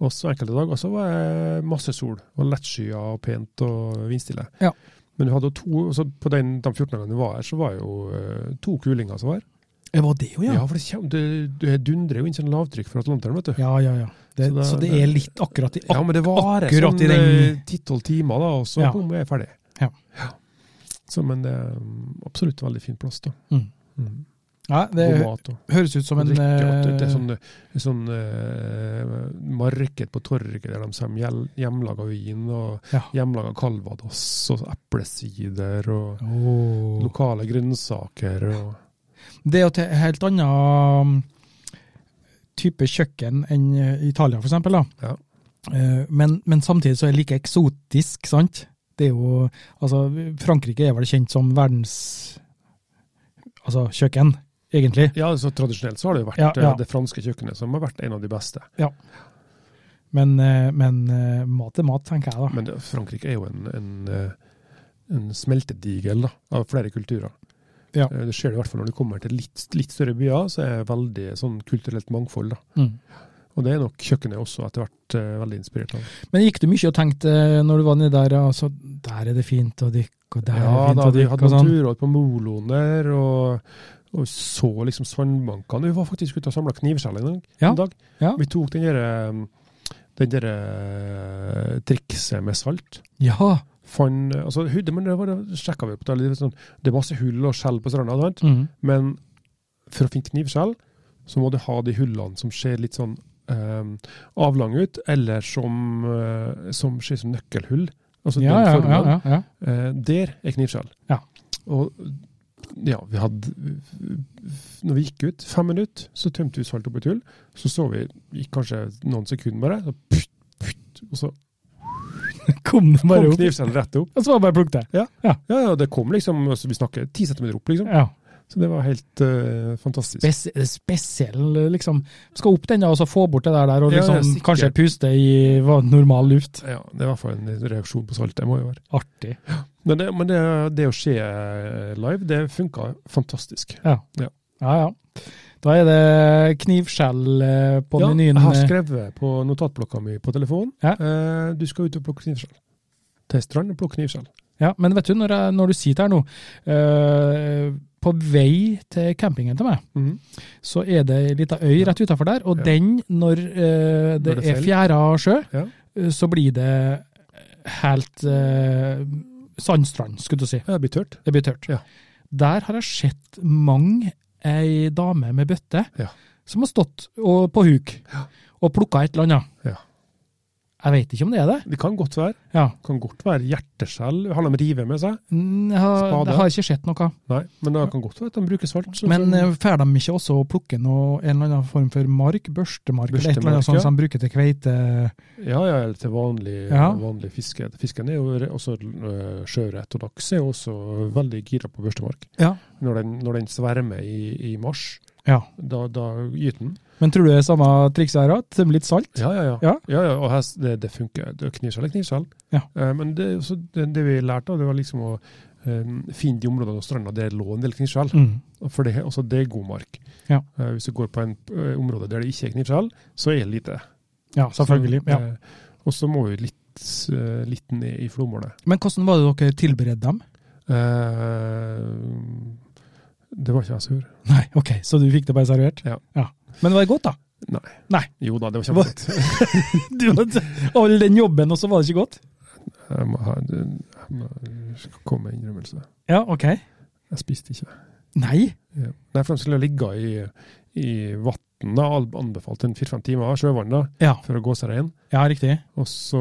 Og så enkelte dager så var jeg masse sol og lettskya og pent og vindstille.
Ja.
Men vi hadde jo to, så på den, de 14 dagene vi var her, så var jo eh, to kulinger som var her.
Det var det jo,
Ja,
ja.
for det, kjem, det, det dundrer jo inn sånn lavtrykk fra Atlanteren, vet du.
Ja, ja, ja. Det,
Så det-
så det er litt akkurat i
Ja, men det varer
akkurat
sånn
i den-
eh, 10-12 timer, da, og så
Ja.
kom jeg ferdig.
Ja.
Så, men det er mm, absolutt veldig fin plass, da.
Mm.
Mm.
Ja, det
God mat og
høres ut som en
drikke. og det- Det er
eh,
sånn, eh, sånn eh, marked på torget der de selger hjel- hjemmelaga vin og
eh, Ja.
hjemmelaga calvados og eplesider og
Åh.
lokale grønnsaker og
Det er jo til helt annen type kjøkken enn eh, Italia, for eksempel. Da.
Ja.
Eh, Men, men samtidig så er det like eksotisk, sant? Det er jo, altså, Frankrike er vel kjent som verdens altså, kjøkken. egentlig.
Ja, så Tradisjonelt så har det jo vært
Ja, ja.
eh, det franske kjøkkenet som har vært en av de beste.
Men, eh, men eh, mat er mat, tenker jeg da.
Men det, Frankrike er jo en, en, eh, en smeltedigel da, av flere kulturer.
Ja.
Eh, Det skjer det i hvert fall når du kommer til litt, litt større byer, så er det veldig sånn kulturelt mangfold. da.
Mm.
Og det er nok kjøkkenet også etter hvert eh, veldig inspirert av.
Men gikk du mye og tenkte eh, når du var nedi der, altså der er det fint å dykke, og der er det
Ja,
fint
da,
å
vi
dykke,
hadde
og sånn.
naturråd på Moloen der, og, og så liksom sandbankene. Vi var faktisk ute og samla knivskjell en dag.
Ja,
en dag.
ja.
Vi tok den derre den der, eh, trikset med salt.
Ja.
Fann, altså, hu- det, men det var det sjekket vi på. Det, er litt sånn, det er masse hull og skjell på stranda, sant?
Mm.
men for å finne knivskjell, så må du ha de hullene som ser litt sånn um, avlange ut, eller som, eh, som ser ut som nøkkelhull. Altså
Ja,
den
ja,
formen.
ja, ja, ja.
Eh, der er knivskjell.
Ja.
Og ja, vi hadde Når vi gikk ut, fem minutter, så tømte vi salt opp et hull. Så så vi i kanskje noen sekunder bare, så putt, putt, og så
Kom det bare
kom
opp.
knivskjellet rett opp.
Og så var det bare å plukke det.
Ja, ja, det kom liksom, altså, vi snakker ti centimeter opp, liksom.
Ja.
Så det var helt eh, fantastisk.
Spes spesiell, liksom. Skal opp den da, og så få bort det der, der og
Ja, ja,
liksom
sikkert.
kanskje puste i hva, normal luft.
Ja, det er i hvert fall en reaksjon på salt, det må jo være.
Artig.
Men det, men det, det å se eh, live, det funka fantastisk.
Ja, ja. Da er det knivskjell eh, på
ja,
menyen.
jeg har
eh,
skrevet på notatblokka mi på telefonen.
Ja.
Eh, du skal ut og plukke knivskjell. Til strand og plukke knivskjell.
Ja, men vet du, når, jeg, når du sitter her nå, eh, på vei til campingen til meg,
Mhm.
så er det ei lita øy rett utafor der, og
Ja.
den, når eh, det,
Når det
er
selv.
fjæra sjø,
Ja.
eh, så blir det helt eh, sandstrand, skulle du si.
Ja, Det blir tørt.
Det blir tørt.
Ja.
Der har jeg sett mange ei dame med bøtte
Ja.
som har stått og, på huk
Ja.
og plukka et eller annet.
Ja.
Jeg veit ikke om det er det.
Det kan godt være.
Ja.
Kan godt være hjerteskjell. Har de rive med seg?
Mm, Jeg har,
Spade.
jeg har ikke sett noe.
Nei, men det kan godt være at de bruker salt. sånn
Men
som-
eh, får de ikke også å plukke noe, en eller annen form for mark, børstemark, eller et eller
Børstemark,
annet sånt
ja.
som de bruker til kveite?
Ja, ja, eller til vanlig,
Ja.
vanlig fiske. Fisken er jo re- også øh, sjøørret, og laks er jo også veldig gira på børstemark.
Ja.
Når den, når den svermer i, i mars,
ja.
da, da gyter den.
Men tror du det er samme triks her òg? Tømme litt salt?
Ja, ja, ja.
Ja.
og her, s- det, det funker. Det er Knivskjell er knivskjell.
Ja.
Eh, men det, er også det, det vi lærte, av, det var liksom å eh, finne de områdene og stranda der det lå en del knivskjell.
Mm.
For det, altså, det er god mark.
Ja.
Eh, hvis du går på en eh, område der det ikke er knivskjell, så er det lite.
Ja, selvfølgelig.
Så,
Ja.
eh, og så må vi litt, eh, litt ned i flommålet.
Men hvordan var det dere tilberedte dem?
Eh, det var ikke jeg som gjorde.
Nei, ok, Så du fikk det bare servert?
Ja.
Men var det godt, da?
Jo da, det var
Hva?
kjempegodt.
Du hadde all den jobben, og så var det ikke godt?
Jeg må ha jeg må komme med en innrømmelse.
Ja, ok.
Jeg spiste ikke.
Nei?
Ja. Nei, for de skulle ligge i, i vann, da, al- anbefalt en fire-fem timer sjøvann da,
Ja,
for å gå seg rein.
ja riktig.
Og så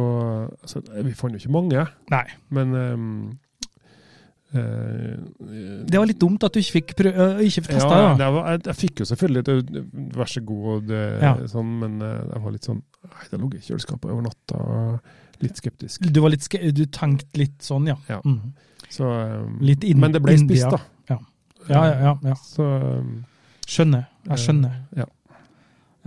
altså, Vi fant jo ikke mange,
Nei.
men eh, eh,
Det var litt dumt at du ikke fikk prø øh, ikke fikk testa, da.
ja, det var, jeg, jeg fikk jo selvfølgelig et ø, vær så god, og det,
Ja.
sånn, men eh, jeg var litt sånn Nei, det lå i kjøleskapet over natta. Litt skeptisk.
Du, var litt ske du tenkte litt sånn, ja.
Ja.
Mm.
Så, eh,
Litt inn-
men det ble
India.
spist, da.
Ja. Ja, ja, ja, ja.
Så eh,
Skjønner. Jeg skjønner.
Ja.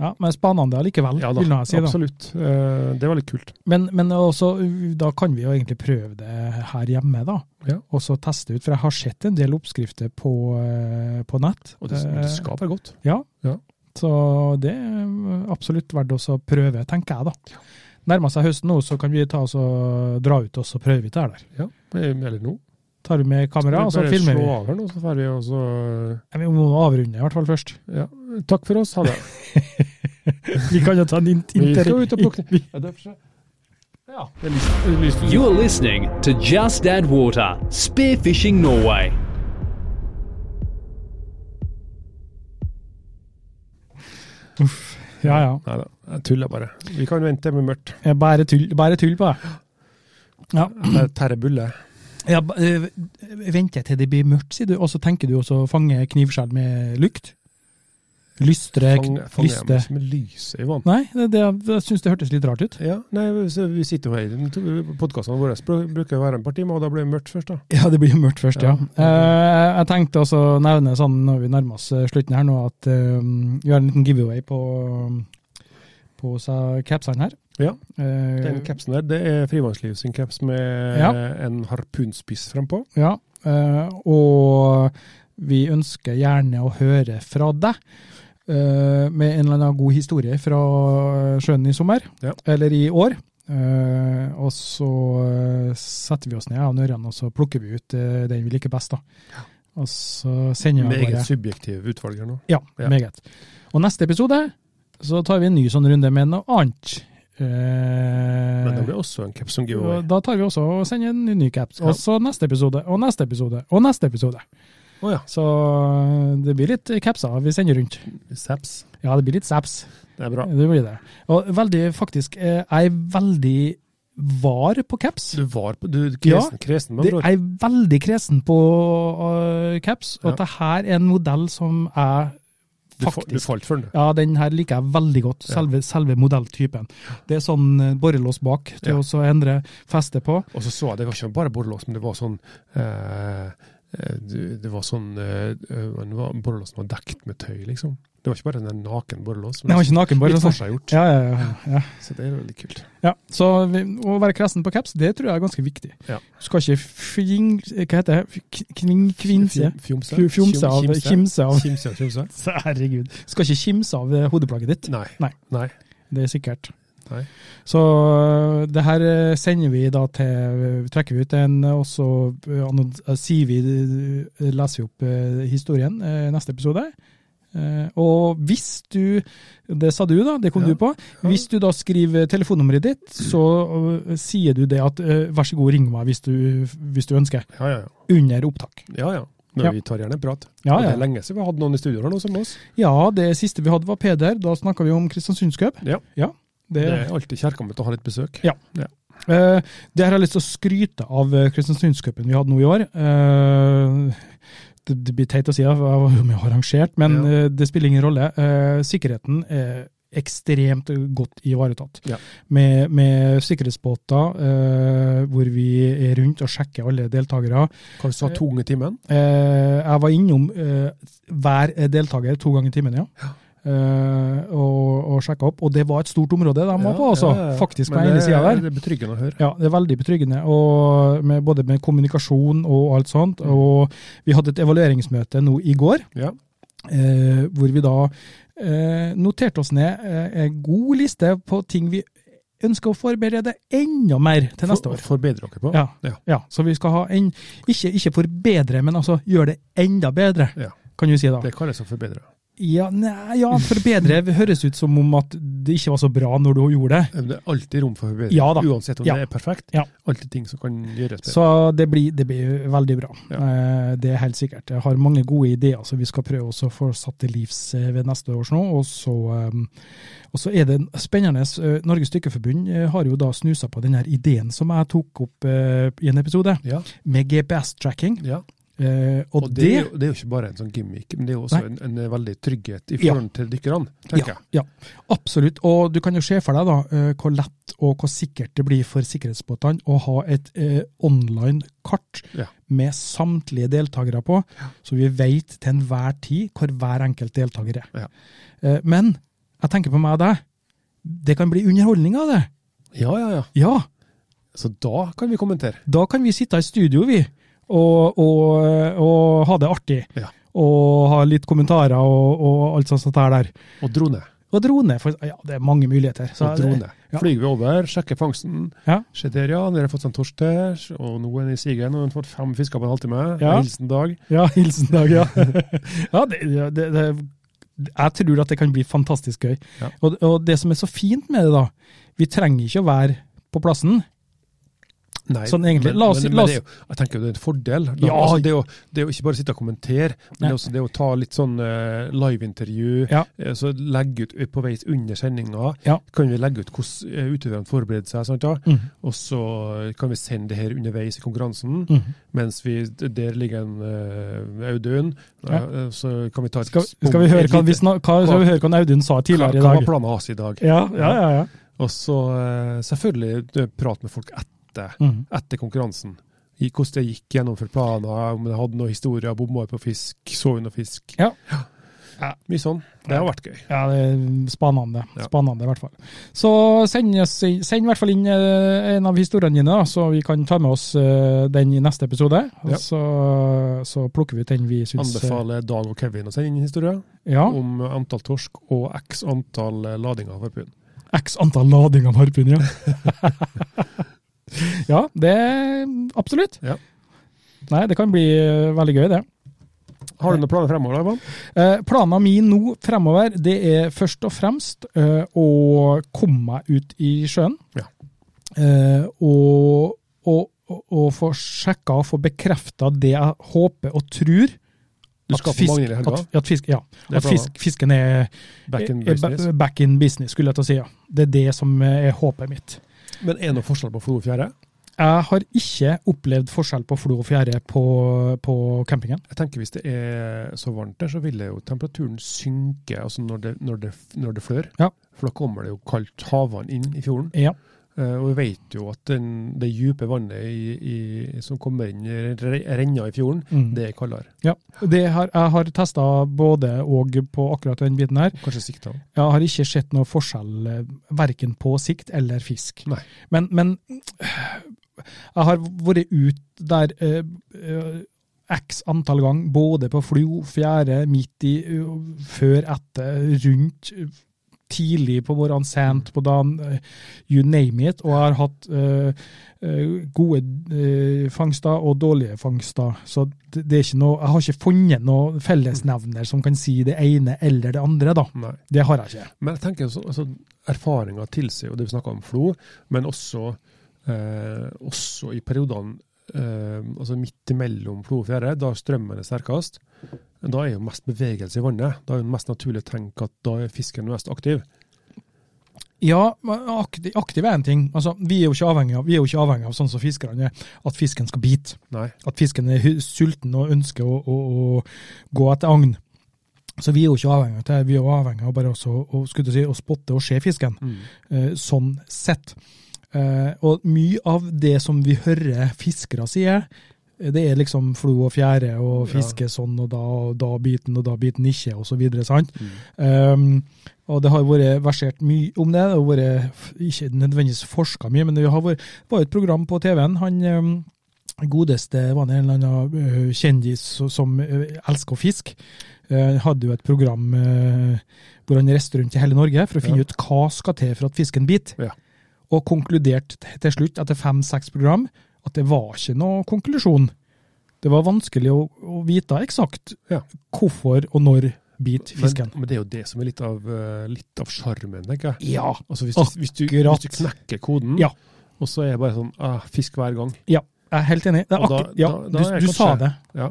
Ja, Men spennende allikevel,
ja da,
vil nå jeg si. da.
absolutt. Eh, Det var litt kult.
Men, men også, uh, da kan vi jo egentlig prøve det her hjemme, da.
Ja.
Og så teste ut. For jeg har sett en del oppskrifter på, eh, på nett.
Og det,
Eh,
det skal være godt.
Så det er absolutt verdt også å prøve, tenker jeg da. Nærmer seg høsten nå, så kan vi ta oss og dra ut oss og prøve ut det her der.
Ja, Eh, Eller nå.
Tar vi med kamera, og så filmer vi.
Bare slå av her nå, så får vi også eh,
Ja, Vi må avrunde i hvert fall først.
ja. Takk for oss. Ha det.
Vi kan jo ta en int-
Vi
inter...
skal ut og plukke
vi-
Ja, det er for seg. Ja. Det er lyst, lyst,
You are listening to Just Add Water Spearfishing Norway.
Ja, ja.
Nei da, jeg tuller bare. Vi kan vente med mørkt.
Jeg Bare tull, bare tull på det. Ja.
Jeg Terrer bulle.
Ja, ba- eh, venter jeg til det blir mørkt, sier du, og så tenker du også å fange knivskjell med lykt? Lystre
Fang- fanger jeg
lyste.
meg ikke med lyset i vann.
Nei, det, det, jeg syns det hørtes litt rart ut.
Ja, nei, så vi sitter jo her. Podkastene våre br- bruker å være en par timer, og da blir det mørkt først, da.
Ja, det blir jo mørkt først, ja.
Ja.
Eh, jeg tenkte også å nevne, sånn når vi nærmer oss eh, slutten her nå, at eh, vi har en liten giveaway på, på sa- capsene her.
Ja,
Eh,
Den capsen der, det er Frivannsliv sin caps med
Ja.
en harpunspiss frempå.
Ja, eh, og vi ønsker gjerne å høre fra deg. eh, med en eller annen god historie fra sjøen i sommer,
Ja.
eller i år. Eh, og så eh, setter vi oss ned av ørene og så plukker vi ut eh, den vi liker best. da. Og så sender
Med
vi
eget
bare
subjektiv utvalg her nå.
Ja,
Ja.
meget. Og neste episode så tar vi en ny sånn runde med noe annet. Eh,
Men det blir også en caps som giveaway.
og da tar vi også og sender en ny caps.
Ja.
Og så neste episode, og neste episode, og neste episode.
Å ja.
Så eh, det blir litt capser vi sender rundt.
Saps.
Ja, det blir litt saps.
Det er bra.
Det blir det. Og veldig, faktisk, eh, jeg er veldig var på caps.
Du var på du, kresen, kresen med
Det,
andre ord.
jeg er veldig kresen på eh, caps, og
Ja.
at det her er en modell som jeg
Du, fa- du
faktisk
falt for den. du.
ja, den her liker jeg veldig godt, selve, selve modelltypen. Det er sånn eh, borrelås bak til
Ja.
å så endre feste på.
Og så så jeg det var ikke bare borrelås, men det var sånn eh, eh, du- Det var sånn eh, eh, det var- Borrelåsen var dekt med tøy, liksom. Det var ikke bare en der naken borrelås.
Den var ikke naken, bare
litt
sånn.
forseggjort.
Ja, ja, ja, ja.
Så det er veldig kult.
Ja, så vi, å være kresen på caps, det tror jeg er ganske viktig.
Ja.
Du skal ikke fling... eh, Hva heter det? K- Kning, kvinse?
Fjom- Fjomse?
Fju- Fjomse av,
Kimse?
kimse av.
Kimse og fjomse?
Herregud. Du skal ikke kimse av eh, hodeplagget ditt,
Nei.
Nei.
Nei.
det er sikkert.
Nei.
Så eh, det her eh, sender vi da til Trekker vi ut en, eh, og så eh, annon- eh, sier vi eh, Leser vi opp eh, historien eh, neste episode. Eh, Og hvis du Det sa du, da. Det kom
Ja.
du på. Hvis du da skriver telefonnummeret ditt, så øh, sier du det at øh, vær så god, ring meg hvis du, hvis du ønsker.
Ja, ja, ja.
Under opptak.
ja, ja. Men
Ja.
Vi tar gjerne en prat.
Ja,
Og Det
ja.
er lenge siden vi hadde noen i studio her nå som oss.
ja, det siste vi hadde var Peder. Da snakka vi om Kristiansundscup.
Ja.
Det,
Det er alltid kjærkomment å ha litt besøk.
Ja. Eh, det her har jeg lyst til å skryte av eh, Kristiansundscupen vi hadde nå i år. Eh, det, det blir teit å si, da, for jeg var jo med og arrangert, men
Ja.
eh, det spiller ingen rolle. Eh, sikkerheten er ekstremt godt ivaretatt.
Ja.
Med, med sikkerhetsbåter eh, hvor vi er rundt og sjekker alle deltakere.
Hva du sa to ganger i timen?
Eh, jeg var innom eh, hver deltaker to ganger i timen, ja. Eh, og og sjekka opp. Og det var et stort område de var på, altså.
Ja, ja, ja.
Faktisk på
Men
ene
det-
sida der.
Det er betryggende å høre.
Ja, det er veldig betryggende, og med, både med kommunikasjon og alt sånt. Og vi hadde et evalueringsmøte nå i går,
Ja.
eh, hvor vi da eh, noterte oss ned eh, en god liste på ting vi ønsker å forberede enda mer til neste år.
For, forbedre dere på.
Ja,
Ja.
ja, så vi skal ha en, ikke, ikke forbedre, men altså gjøre det enda bedre,
Ja.
kan du si da.
Det kalles å forbedre.
Ja, nei, ja, forbedre høres ut som om at det ikke var så bra når du gjorde det.
Det er alltid rom for forbedring.
Ja da.
Uansett om
Ja.
det er perfekt.
Ja.
Alltid ting som kan gjøres bedre.
Så det blir, det blir veldig bra.
Ja.
Eh, Det er helt sikkert. Jeg har mange gode ideer som vi skal prøve også å få satt til livs eh, ved neste års nå. Og så, eh, og så er det en spennende. eh, Norges Dykkerforbund eh, har jo da snusa på den her ideen som jeg tok opp eh, i en episode,
ja.
med GPS-tracking.
ja.
Eh, Og,
Og det, er jo- det er jo ikke bare en sånn gimmick, men det er jo også
Nei.
en, en veldig trygghet i
Ja.
forhold til dykkerne, tenker
ja,
jeg.
ja, absolutt. Og du kan jo se for deg da, eh, hvor lett og hvor sikkert det blir for sikkerhetsbåtene å ha et eh, online kart
Ja.
med samtlige deltakere på, så vi vet til enhver tid hvor hver enkelt deltaker er.
Ja.
Eh, Men jeg tenker på meg og deg. Det kan bli underholdning av det.
Ja, ja, ja.
Ja,
Så da kan vi kommentere.
da kan vi sitte i studio, vi, og, og, og ha det artig.
Ja.
Og ha litt kommentarer og, og alt sånt der. der.
Og drone.
Og drone. For, ja, det er mange muligheter. så
og
det-
drone.
ja.
Flyger vi over, sjekker fangsten.
Ja.
Se der, ja. Dere har fått seg en torsk der. Og nå er den i sigeren, og hun har fått fem fisker på en halvtime.
Ja.
Hilsen Dag.
Ja, hilsen Dag, ja. ja det, det, det, jeg tror at det kan bli fantastisk gøy.
Ja.
Og, og det som er så fint med det, da Vi trenger ikke å være på plassen.
Nei,
Sånn egentlig.
men-
La oss-
men,
la oss-
men det er jo, jeg tenker jo det er en fordel. La,
Ja.
altså, det, er jo, det er jo ikke bare å sitte og kommentere, men det
Nei.
er også det å ta litt sånn eh, liveintervju.
Ja.
eh, Så legge ut på veis under sendinga.
Ja.
Kan vi legge ut hvordan eh, utøverne forbereder seg, sant, ja?
Mm.
og så kan vi sende det her underveis i konkurransen.
Mm.
Mens vi, der ligger en eh, Audun,
Ja.
eh, så kan vi ta et
Skal, skal, vi høre hva, vi snak- hva, skal vi høre hva Audun sa tidligere i
Hva var
dag?
planen hans i dag?
Ja, ja, ja. ja.
Og så eh, selvfølgelig eh, prate med folk etter,
Mhm.
etter konkurransen. I hvordan det gikk, gjennomført planer, om det hadde noen historier, bomma på fisk, så hun noe fisk.
Ja.
Ja, Mye sånn. Det har vært gøy.
Ja, det er spennende.
Ja.
Spennende, i hvert fall. Så send, oss- send i hvert fall inn eh, en av historiene dine, da, så vi kan ta med oss eh, den i neste episode. Og
Ja.
så, så plukker vi ut den vi syns eh,
Anbefaler Dag og Kevin å sende inn historier
Ja.
om antall torsk og x antall eh, ladinger av harpun.
X antall lading av harpun, ja. ja, det Absolutt.
Ja.
Nei, det kan bli eh, veldig gøy, det.
Har du noen planer fremover, Ivan?
Eh, Planene mine nå fremover, det er først og fremst eh, å komme meg ut i sjøen.
Ja.
Eh, og, og, og, og få sjekka og få bekrefta det jeg håper og tror.
Du
at
skal på
fisk-
Magnhild i helga.
At, at, fisk, ja,
Det er
at fisk, fisken er
Back in
er Eh, ba-
business.
back in business, skulle jeg til å si. ja. Det er det som eh, er håpet mitt.
Men er det noe forskjell på flo og fjære?
Jeg har ikke opplevd forskjell på flo og fjære på, på campingen.
Jeg tenker Hvis det er så varmt der, så vil det jo temperaturen synke altså når det, når det, når det flør.
Ja.
For da kommer det jo kaldt havvann inn i fjorden.
Ja.
Eh, Og vi vet jo at den, det dype vannet i, i, som kommer inn i re- renna i fjorden,
Mm.
det er kaldere.
Ja, det har, jeg har testa både og på akkurat den biten her.
Kanskje sikta.
Jeg har ikke sett noe forskjell eh, verken på sikt eller fisk.
Nei.
Men, men øh, jeg har vært ute der eh, eh, x antall ganger, både på flo, fjære, midt i, ø, før, etter, rundt, ø, tidlig på morgenen, sent på dagen, ø, you name it. Og jeg har hatt ø, ø, gode ø, fangster og dårlige fangster. Så det, det er ikke noe, jeg har ikke funnet noen fellesnevner som kan si det ene eller det andre, da.
Nei.
Det har jeg ikke.
Men jeg tenker så, altså, erfaringa tilsier jo det vi snakka om flo, men også, eh, også i periodene eh, altså midt imellom flo og fjære, da strømmen er sterkest. Da er jo mest bevegelse i vannet. Da er jo mest naturlig å tenke at da er fisken mest aktiv.
Ja, men aktiv, aktiv er en ting. Altså, vi er jo ikke avhengig av, vi er jo ikke avhengig av sånn som fiskerne er, at fisken skal bite.
Nei.
At fisken er hu- sulten og ønsker å, å, å gå etter agn. Så vi er jo ikke avhengig av det. Vi er jo avhengig av bare også, å, skulle jeg si, å spotte og se fisken, eh, sånn sett. Eh, og mye av det som vi hører fiskere sier, eh, det er liksom flo og fjære og
Ja.
fiske sånn og da, og da biten og da biten ikke, og så videre, sant? Um, og det har vært versert mye om det. Det har vært f- ikke nødvendigvis forska mye, men det har vært, det var jo et program på TV-en. Han um, godeste var det en eller annen øh, kjendis so- som øh, elsker å fiske. Eh, hadde jo et program eh, hvor han reiste rundt i hele Norge for å finne
Ja.
ut hva skal til for at fisken biter.
Ja.
Og konkluderte t- til slutt, etter fem-seks program, at det var ikke noe konklusjon. Det var vanskelig å, å vite eksakt
Ja.
hvorfor og når biter fisken.
Men, men det er jo det som er litt av, eh, litt av sjarmen, tenker jeg.
Ja,
Altså hvis, du, hvis, du,
Akkurat.
hvis du knekker koden,
Ja.
og så er det bare sånn ah, fisk hver gang.
ja, jeg er helt enig. Det er
Og da-
akkur- ja,
da- da er jeg
du, du sa
kanskje-
det.
Ja.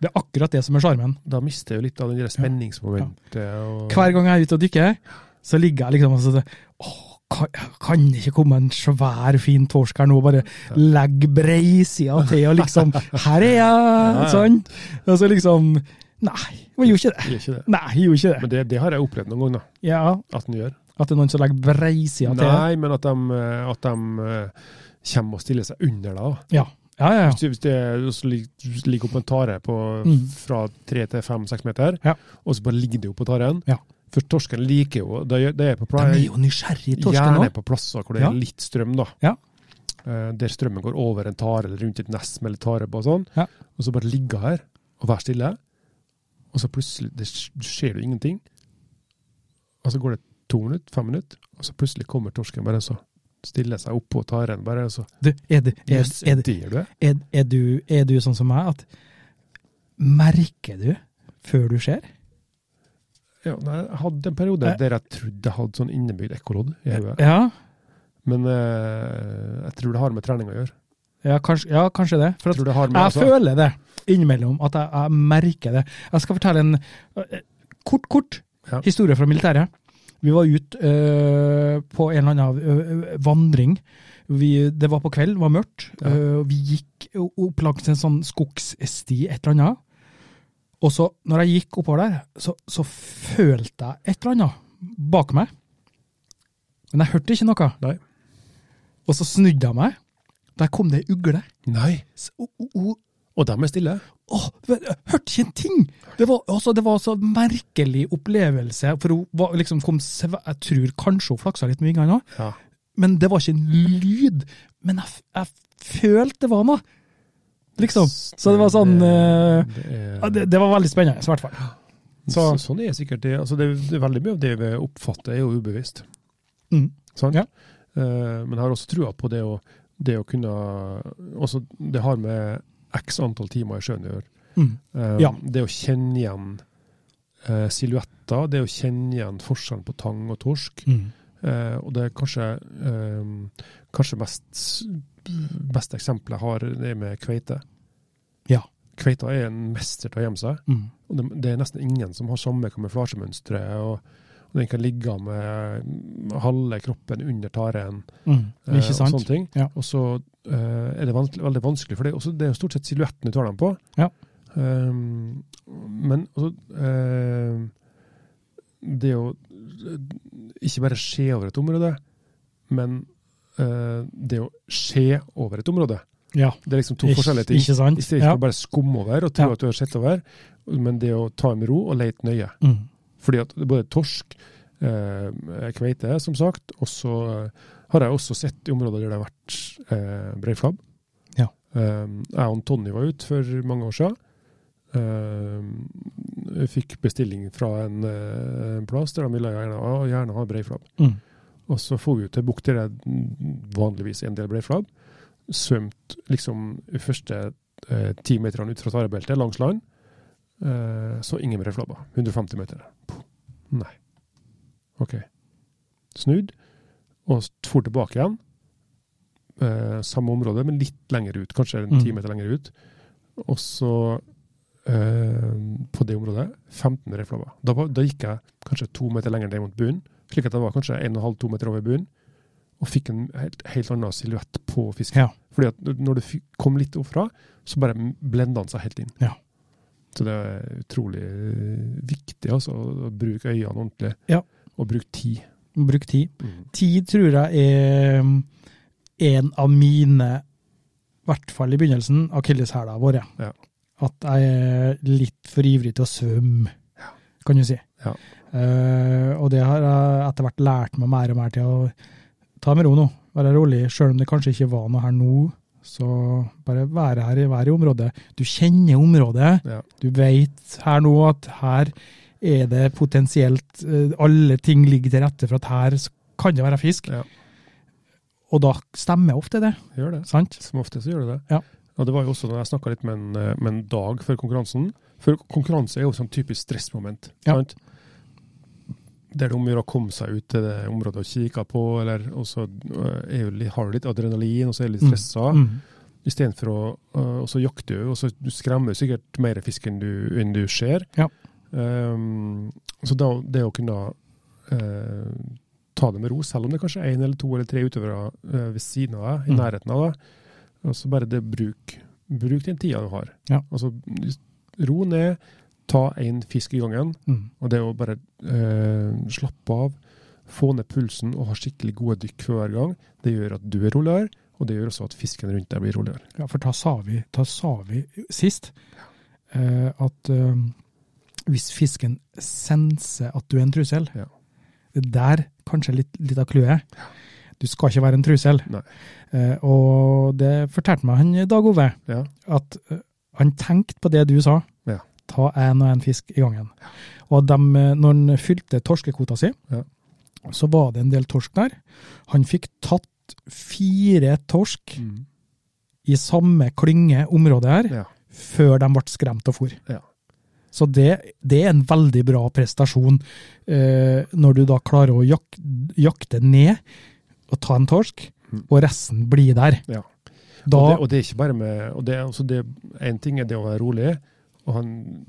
Det er akkurat det som er sjarmen.
Da mister jeg jo litt av den der spenningsmomentet. Og,
Hver gang jeg er ute og dykker, så ligger jeg liksom og så Åh, kan, kan det ikke komme en svær, fin torsk her nå? Bare legg breisida til, og liksom Her er jeg!
ja.
Sånn. Og så liksom Nei, jeg gjorde ikke det.
Det er ikke det.
Nei, jeg gjorde ikke det.
Men det, det har jeg opplevd noen ganger, da,
Ja,
at den gjør.
At det er noen som legger breisida til.
Nei, men at de, eh, at de eh, kommer og stiller seg under da.
Ja, ja, ja.
Hvis du- Hvis det og så lig- ligger opp på en tare på,
Mm.
fra tre til fem-seks meter,
Ja.
og så bare ligger det jo på taren.
Ja.
For torsken liker jo Det er, det er på
De
plan,
er jo nysgjerrige, torsken
Gjerne
òg.
på plasser hvor det
Ja.
er litt strøm, da.
Ja.
Eh, Der strømmen går over en tare eller rundt et nest med litt tare på og sånn.
Ja.
Og så bare ligge her og være stille, og så plutselig det sk- skjer jo ingenting. Og så går det to minutter, fem minutter, og så plutselig kommer torsken bare så stiller seg oppå taren bare og så
Du, er det, er,
Jøss,
er,
er
det-
det du er?
Er, er, du, er du sånn som meg at merker du før du ser?
Ja, nei, jeg hadde en periode
Eh.
der jeg trodde jeg hadde sånn innebygd ekkolodd i hodet.
Ja.
Men eh, jeg tror det har med trening å gjøre.
Ja, kanskje, ja, kanskje det. For at
Tror det har med,
jeg
altså-
føler det innimellom, at jeg, jeg merker det. Jeg skal fortelle en eh, kort, kort
Ja.
historie fra militæret. Vi var ute eh, på en eller annen eh, vandring. Vi, det var på kveld, det var mørkt.
Ja.
Eh, vi gikk opp langs en sånn skogssti, et eller annet. Og så, når jeg gikk oppover der, så, så følte jeg et eller annet bak meg. Men jeg hørte ikke noe.
Nei.
Og så snudde jeg meg. Der kom det ei ugle.
Nei.
S- o- o- o-
Og dem er stille.
Åh, vet- jeg hørte ikke en ting! Det var, altså, det var så merkelig opplevelse. For hun var, liksom, kom sve- Jeg tror kanskje hun flaksa litt med vingene òg,
Ja.
men det var ikke en lyd. Men jeg, f- jeg følte det var noe, liksom. Så det var sånn eh,
Det er-
ja, det, det var veldig spennende, i hvert fall.
så, sånn er sikkert det. Altså, det, er- det er veldig mye av det vi oppfatter, er jo ubevisst.
Mm.
Sant?
Ja.
Eh, men jeg har også trua på det å, det å kunne også, Det har med x antall timer i sjøen å gjøre.
Mm.
Eh,
Ja.
Det å kjenne igjen eh, silhuetter, det å kjenne igjen forskjellen på tang og torsk.
mm,
Eh, og det er kanskje, eh, kanskje mest beste eksempelet jeg har, det er med kveite.
Ja.
Kveita er en mester til å gjemme seg.
Mm.
Og det, det er nesten ingen som har samme kamuflasjemønstre. Og, og den kan ligge med halve kroppen under taren.
Mm.
eh,
Ikke sant?
Og sånne ting.
Ja.
Og så eh, er det vanskelig, veldig vanskelig, for det er, også, det er jo stort sett silhuetten du tar dem på.
Ja.
Ehm, men altså eh, Det å eh, ikke bare se over et område, men eh, det å se over et område.
Ja.
Det er liksom to
Ikke-
forskjellige ting.
Ikke sant?
I stedet
Ja.
for å bare skumme over og tro
Ja.
at du har sett over, men det å ta med ro og lete nøye.
Mm.
Fordi at det er både torsk, eh, kveite, som sagt, og så eh, har jeg også sett i områder der det har vært eh, breiflabb.
Ja.
Eh, jeg og Tony var ute for mange år siden. Eh, jeg fikk bestilling fra en, eh, en plass der de ville gjerne, ha- gjerne ha breiflabb.
Mm.
Og så for vi ut til bukt der det vanligvis er en del breiflabb. Svømt liksom de første eh, ti meterne ut fra tarebeltet langs land. Eh, så ingen breiflabber. 150 meter. Puh. Nei. OK. Snudd, og s- for tilbake igjen. Eh, samme område, men litt lenger ut. Kanskje en
Mm.
ti meter lenger ut. Og så eh, på det området 15 breiflabber. Da, var- da gikk jeg kanskje to meter lenger ned mot bunnen, slik at jeg var kanskje 1,5-2 meter over bunnen, og fikk en helt, helt annen silhuett på fisken.
Ja.
Fordi at når- når det fi- kom litt opp fra, så bare blenda han seg helt inn.
Ja.
Så det er utrolig eh, viktig altså, å bruke øynene ordentlig,
Ja.
og bruke tid.
Bruk tid. Tid tror jeg er um, en av mine, i hvert fall i begynnelsen, akilleshæler våre.
Ja.
At jeg er litt for ivrig til å svømme, kan du si.
Ja.
Eh, og det har jeg etter hvert lært meg mer og mer til å ta med ro nå. Være rolig, sjøl om det kanskje ikke var noe her nå. Så bare være her, i- være i området. Du kjenner området.
Ja.
Du vet her nå at her er det potensielt eh, Alle ting ligger til rette for at her s- kan det være fisk.
Ja.
Og da stemmer ofte det,
Gjør det.
sant?
Som ofte så gjør det det.
Ja.
Og det var jo også når jeg snakka litt med en, eh, med en dag før konkurransen. For konkurranse er jo sånn typisk stressmoment.
Ja.
Sant? Der det er om å gjøre å komme seg ut til det området og kikke på, eller, og så eh, er jo, litt- har du litt adrenalin, og så er du litt
Mm.
stressa.
Mm.
Istedenfor å øh, Og så jakter du, og så du skremmer du sikkert mer fisk enn du, enn du ser.
Ja.
Ehm, så da, det å kunne eh, ta det med ro, selv om det kanskje er én eller to eller tre utøvere eh, ved siden av deg, i
Mm.
nærheten av deg, og så bare det bruk, bruk den tida du har.
Ja.
Altså ro ned, ta én fisk i gangen,
Mm.
og det å bare eh, slappe av, få ned pulsen og ha skikkelig gode dykk for hver gang, det gjør at du er roligere, og det gjør også at fisken rundt deg blir roligere.
Ja, for da sa vi, da sa vi sist eh, at eh, hvis fisken senser at du er en trussel,
Ja.
det er der kanskje litt, litt av clouet. er. Du skal ikke være en trussel.
Nei.
Eh, og det fortalte meg han Dag Ove,
Ja.
at eh, han tenkte på det du sa.
Ja.
Ta én og én fisk i gangen. Og dem, eh, når han fylte torskekvota si,
Ja.
så var det en del torsk der. Han fikk tatt fire torsk i samme klynge område her,
Ja.
før de ble skremt og for.
Ja.
Så det, det er en veldig bra prestasjon, eh, når du da klarer å jak jakte ned og ta en torsk,
Mm.
og resten blir der.
Ja.
Da,
Og, det, og det er ikke bare med og det, er altså det, En ting er det å være rolig og ha en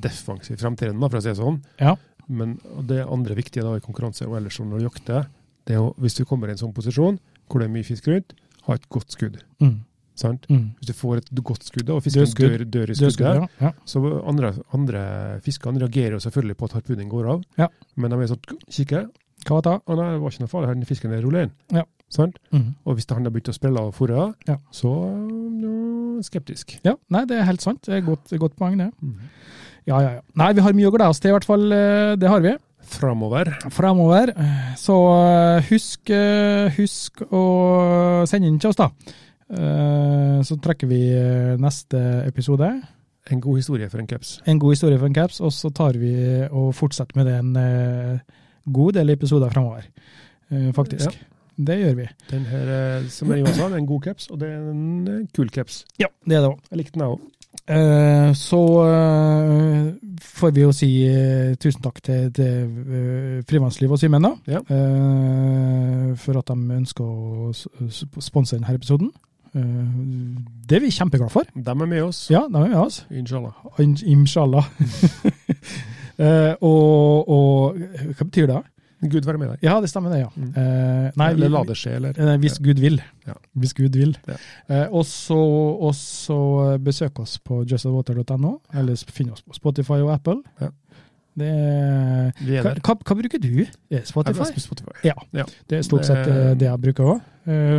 defensiv fremtreden, da, for å si det sånn.
Ja.
Men det andre viktige da, i konkurranse og ellers når du jakter, det er jo hvis du kommer i en sånn posisjon hvor det er mye fisk rundt, ha et godt skudd.
mm,
sant?
mm,
Hvis du får et godt skudd da, og fisken
Dødskudd.
dør, dør i
det
skuddet,
skulle, ja. ja.
så andre, andre fiskene reagerer jo selvfølgelig på at harpunen går av.
Ja.
Men de er sånn, kikker,
Hva var det da?
å nei, det var ikke noe farlig, her den fisken er rolig inn.
Ja.
Sant?
Mm.
Og hvis han har begynt å spille av forrige,
Ja.
så ja, skeptisk.
Ja, nei, det er helt sant. Det er et godt, godt poeng, det. Ja, ja, ja. Nei, vi har mye å glede oss til, i hvert fall. eh, Det har vi.
Framover.
Fremover. Så eh, husk, eh, husk å sende inn til oss, da. Eh, Så trekker vi eh, neste episode.
En god historie for en caps.
En god historie for en caps, og så tar vi og fortsetter med det en eh, god del episoder fremover. Eh, Faktisk. Det gjør vi.
Den her, eh, som jeg sa, det er en god caps, og det er en eh, kul caps.
Ja, det er det òg.
Jeg likte den jeg òg.
Eh, så eh, får vi jo si eh, tusen takk til, til eh, Frivannsliv og Simen, da.
Ja.
Eh, for at de ønsker å s- s- sponse denne episoden. Eh, det er vi kjempeglade for.
De er med oss.
Ja, de er med oss.
Inshallah.
In- Inshallah. Eh, og, og hva betyr det?
Gud være med deg.
Ja, det stemmer det, ja.
Mm.
Eh, nei, vi,
eller la det skje, eller
Eh, Hvis Gud vil.
Ja.
Hvis Gud vil.
Ja.
Eh, og så og så eh, besøk oss på justthewater.no, eller sp- finn oss på Spotify og Apple.
Ja.
Det er,
Vi er
hva,
der.
hva, hva bruker du? Eh,
Jeg
Spotify?
er på Spotify.
Det er stort sett eh, det jeg bruker òg.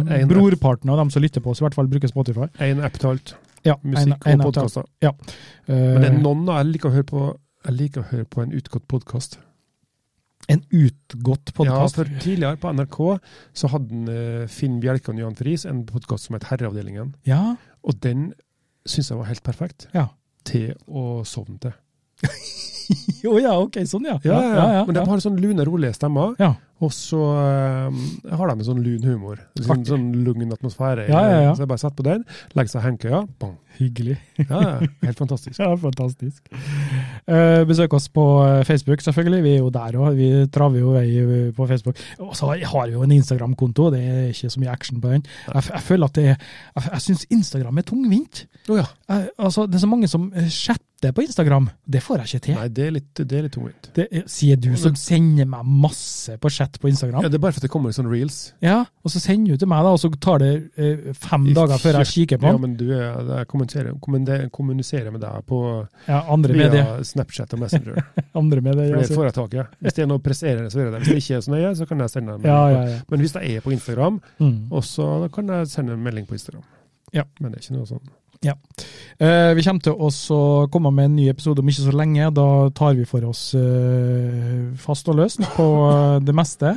en-
brorparten av dem som lytter på oss, i hvert fall bruker Spotify.
Én app til alt.
Ja,
Musikk
en- en
og
av dem.
podkaster.
Eh,
Men det er noen da, jeg liker å høre på jeg liker å høre på en utgått podkast.
en utgått
Ja,
podkast.
for tidligere på NRK så hadde en, eh, Finn Bjelke og Jan Friis en podkast som het Herreavdelingen.
Ja,
Og den syns jeg var helt perfekt
Ja.
til å sovne til.
Jo, ja, ok, sånn, ja.
Ja, ja, ja,
ja,
Men de har sånn lune, rolige stemmer.
Ja.
Og så eh, har de en sånn lun humor. Sånn,
Artig.
sånn lugn atmosfære. i
Ja, ja, ja.
det. Så jeg bare setter på den, legger seg i hengekøya, bang.
Hyggelig.
Ja, ja, helt fantastisk.
Ja, fantastisk. Eh, besøk oss på eh, Facebook, selvfølgelig. Vi er jo der òg. Vi traver jo vei eh, på Facebook. Og så har vi jo en Instagram-konto. Det er ikke så mye action på den. Jeg, f- jeg føler at det er Jeg, jeg syns Instagram er tungvint.
Å ja.
Jeg, altså, det er så mange som eh, chatter på Instagram. Det får jeg ikke til.
Nei, det er litt, det er litt tungvint.
Det er- sier du som sender meg masse på chat på
Ja,
Instagram.
det er bare for at det kommer sånn reels.
Ja, og så sender du til meg, da, og så tar det eh, fem
I
dager før jeg kikker på
Ja,
den.
men du er, jeg kommuniserer, kommende- kommuniserer med deg på
Ja, andre
via
medier.
Snapchat og Messenger.
Andre medier
For det
altså.
får jeg tak i. Hvis det er noe presserende, så gjør jeg det. Hvis det ikke er så nøye, så kan jeg sende en melding.
Ja, ja,
på-
ja.
Men hvis jeg er på Instagram,
Mm.
også kan jeg sende en melding på Instagram.
Ja.
Men det er ikke noe sånn.
Eh, vi kommer til å så komme med en ny episode om ikke så lenge. Da tar vi for oss eh, fast og løst på eh, det meste.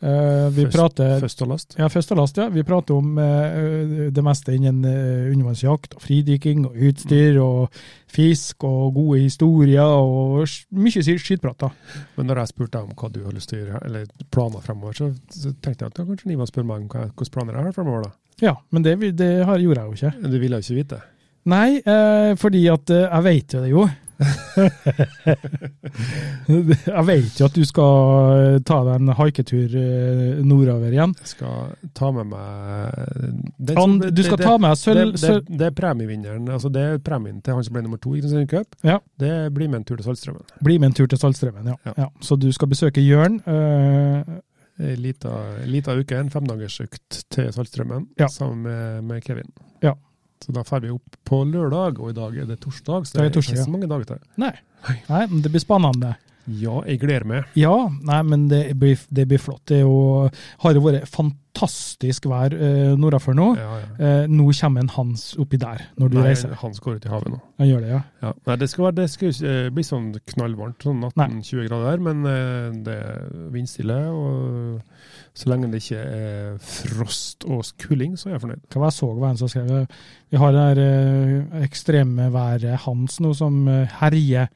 Eh, vi
Først-
prater
Først og last.
ja, først og last, ja. Vi prater om eh, det meste innen eh, undervannsjakt og fridykking og utstyr
Mm.
og fisk og gode historier og s- mye sk- skitprat. da.
Men når jeg spurte deg om hva du har lyst til å gjøre, eller planer fremover, så, så tenkte jeg at ja, kanskje Ivan spør meg om hva- hvilke planer jeg har fremover, da.
Ja, men det, vil- det har, gjorde jeg jo ikke.
Du ville jo ikke vite.
Nei, eh, fordi at eh, jeg vet jo det jo. jeg vet jo at du skal eh, ta deg en haiketur eh, nordover igjen.
Jeg skal ta med meg det,
And, du skal ta med deg
det,
sølv...
det,
sølv-
det er premievinneren, altså det er premien til han som ble nummer to i Kristiansund Cup.
Ja.
Det blir med en tur til Saltstraumen.
Bli med en tur til Saltstraumen, ja.
Ja.
ja. Så du skal besøke Jørn. eh,
Ei lita, lita uke, en femdagersøkt til Saltstraumen
Ja.
sammen med, med Kevin.
Ja.
Så da drar vi opp på lørdag, og i dag er det torsdag, så
Det er
det er,
torsdag,
ikke
ja.
så mange dager til.
nei. nei, men det blir spennende.
Ja, jeg gleder meg.
Ja, nei, men det blir, det blir flott. Det er jo, har jo vært fantastisk vær eh, nordafor nå.
Ja, ja.
Eh, nå kommer en Hans oppi der, når du
Nei,
reiser.
han skal ut i havet nå.
Han gjør det, ja.
Ja. Nei, det skal, være, det skal ikke, eh, bli sånn knallvarmt, sånn 18-20 grader, men eh, det er vindstille. Og så lenge det ikke er frost og kuling, så er jeg fornøyd.
Hva var jeg så var en som skrev det? Vi har det her eh, ekstreme været hans nå som eh, herjer.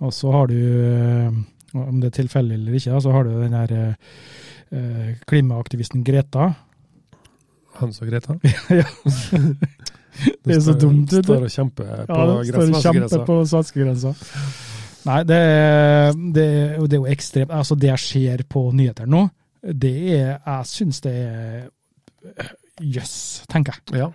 Og så har du, eh, om det er tilfeldig eller ikke, da, så har du den her eh, eh, klimaaktivisten Greta.
Hans og Greta.
Ja. Det er så dumt, vet du.
Står og kjemper på
står og kjemper
gressmassegrensa.
på svenskegrensa. Nei, det, er- det, er- og det er jo ekstremt. Altså, det jeg ser på nyheter nå, det er Jeg syns det er eh, Jøss, tenker jeg.
Ja.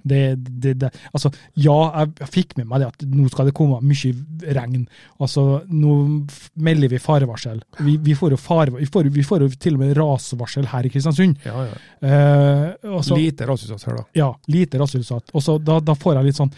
Det, det, det, altså, ja, jeg fikk med meg det at nå skal det komme mye regn. Altså, nå f- melder vi farevarsel. Vi, vi, får, jo fare, vi, får, vi får jo til og med rasvarsel her i Kristiansund.
Ja, ja.
Eh, og så-
Lite rasutsatt her, da.
ja, lite rasutsatt. Og så da, da får jeg litt sånn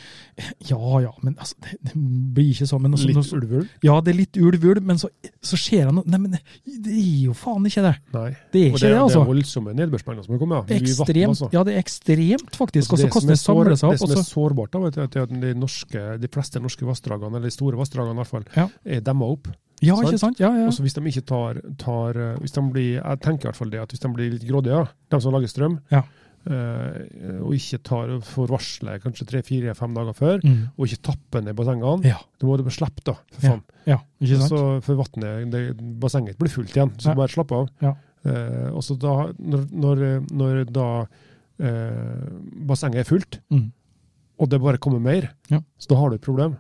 Ja ja, men altså, det, det blir ikke sånn. Men også,
Litt
nå-
ulveulv?
ja, det er litt ulv-ulv, men så, så ser jeg noe Nei, men det er jo faen ikke det.
Nei.
Det er
Og
ikke det,
det
altså.
er voldsomme nedbørsmengder som har kommet. ja. Mye vatten,
Ekstremt,
altså.
ja, det er ekstremt, faktisk. Og så
det som
hvordan
er
det altså. samler seg opp.
sår- det som
og
er
så-
sårbart, da, vet du, er at de, norske, de fleste norske vassdragene, eller de store vassdragene i hvert fall,
Ja.
er demma opp.
Ja, ikke sant? Ja, ja.
Og så hvis de ikke tar, tar eh, hvis de blir, Jeg tenker i hvert fall det, at hvis de blir litt grådige, ja, de som lager strøm,
Ja.
eh, og ikke tar, får varslet kanskje tre-fire-fem dager før,
Mm.
og ikke tapper ned bassengene,
Ja,
da må du bare slippe, da. For faen.
ja, ikke sant?
Så for vattnet, det, bassenget blir fullt igjen, så
Ja.
bare slapp av.
Ja.
Eh, og så da, når, når, når da eh, bassenget er fullt,
Mm.
og det bare kommer mer,
Ja.
så da har du et problem.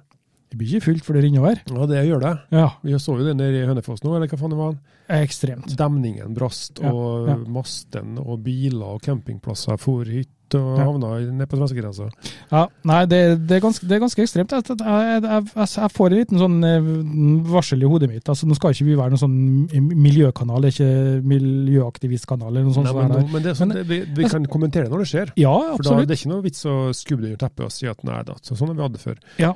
Det blir ikke fullt for det renner over.
Ja, det gjør det.
Ja,
Vi så jo det nede i Hønefoss nå, eller hva faen det var.
ekstremt.
Demningen brast,
Ja,
og
ja.
masten og biler og campingplasser for hytt og
Ja.
havna i- ned på svenskegrensa.
Ja, nei, det, det, er ganske, det er ganske ekstremt. Jeg, jeg, jeg, jeg, jeg får en liten sånn eh, varsel i hodet mitt. Altså, nå skal ikke vi være noen sånn miljøkanal, det er ikke miljøaktivistkanal eller noe sånt.
Nei,
som
Men,
er der.
nå- men det, er sånn,
Men-
det, vi, vi kan kommentere når det skjer.
ja,
For da,
absolutt.
det er ikke noe vits å skubbe det under teppet og si at nei da, så sånn har vi hatt det før.
Ja.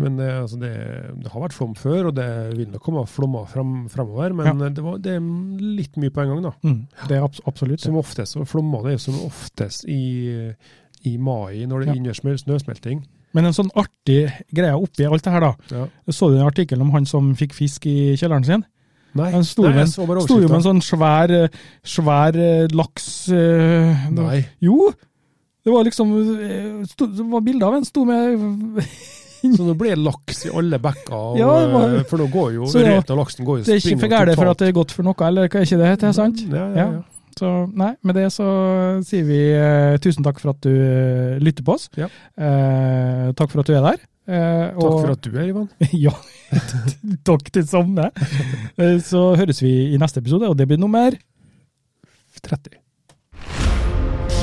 Men eh, altså, det, det har vært flom før, og det vil nok komme flommer frem, fremover. Men eh, det, var, det er litt mye på en gang, da.
Mm, det er abs absolutt det.
Som oftest, og flommene er jo som oftest i, i mai, når det
Ja.
er innersmel- snøsmelting.
Men en sånn artig greie oppi alt det her, da.
Ja.
Så du den artikkelen om han som fikk fisk i kjelleren sin?
Nei,
Han sto jo med
nei,
en-
jeg så bare
Sto jo med en sånn
overskriften.
svær, eh, svær eh, laks eh,
Nei,
Jo! Det var liksom eh, sto, Det var bilde av en sto med
så nå blir det laks i alle bekker, og,
Ja, det var-
eh, for nå går jo
Så ja,
røta laksen går jo
Det er ikke for gærent for at det er godt for noe, eller hva er ikke det heter, sant?
Ja, ja, ja.
Ja. Så nei, med det så sier vi eh, tusen takk for at du eh, lytter på oss.
Ja.
Eh, takk for at du er der. Eh,
Takk for at du er Ivan.
Ja, takk til samme. Eh, Så høres vi i neste episode, og det blir nummer
30.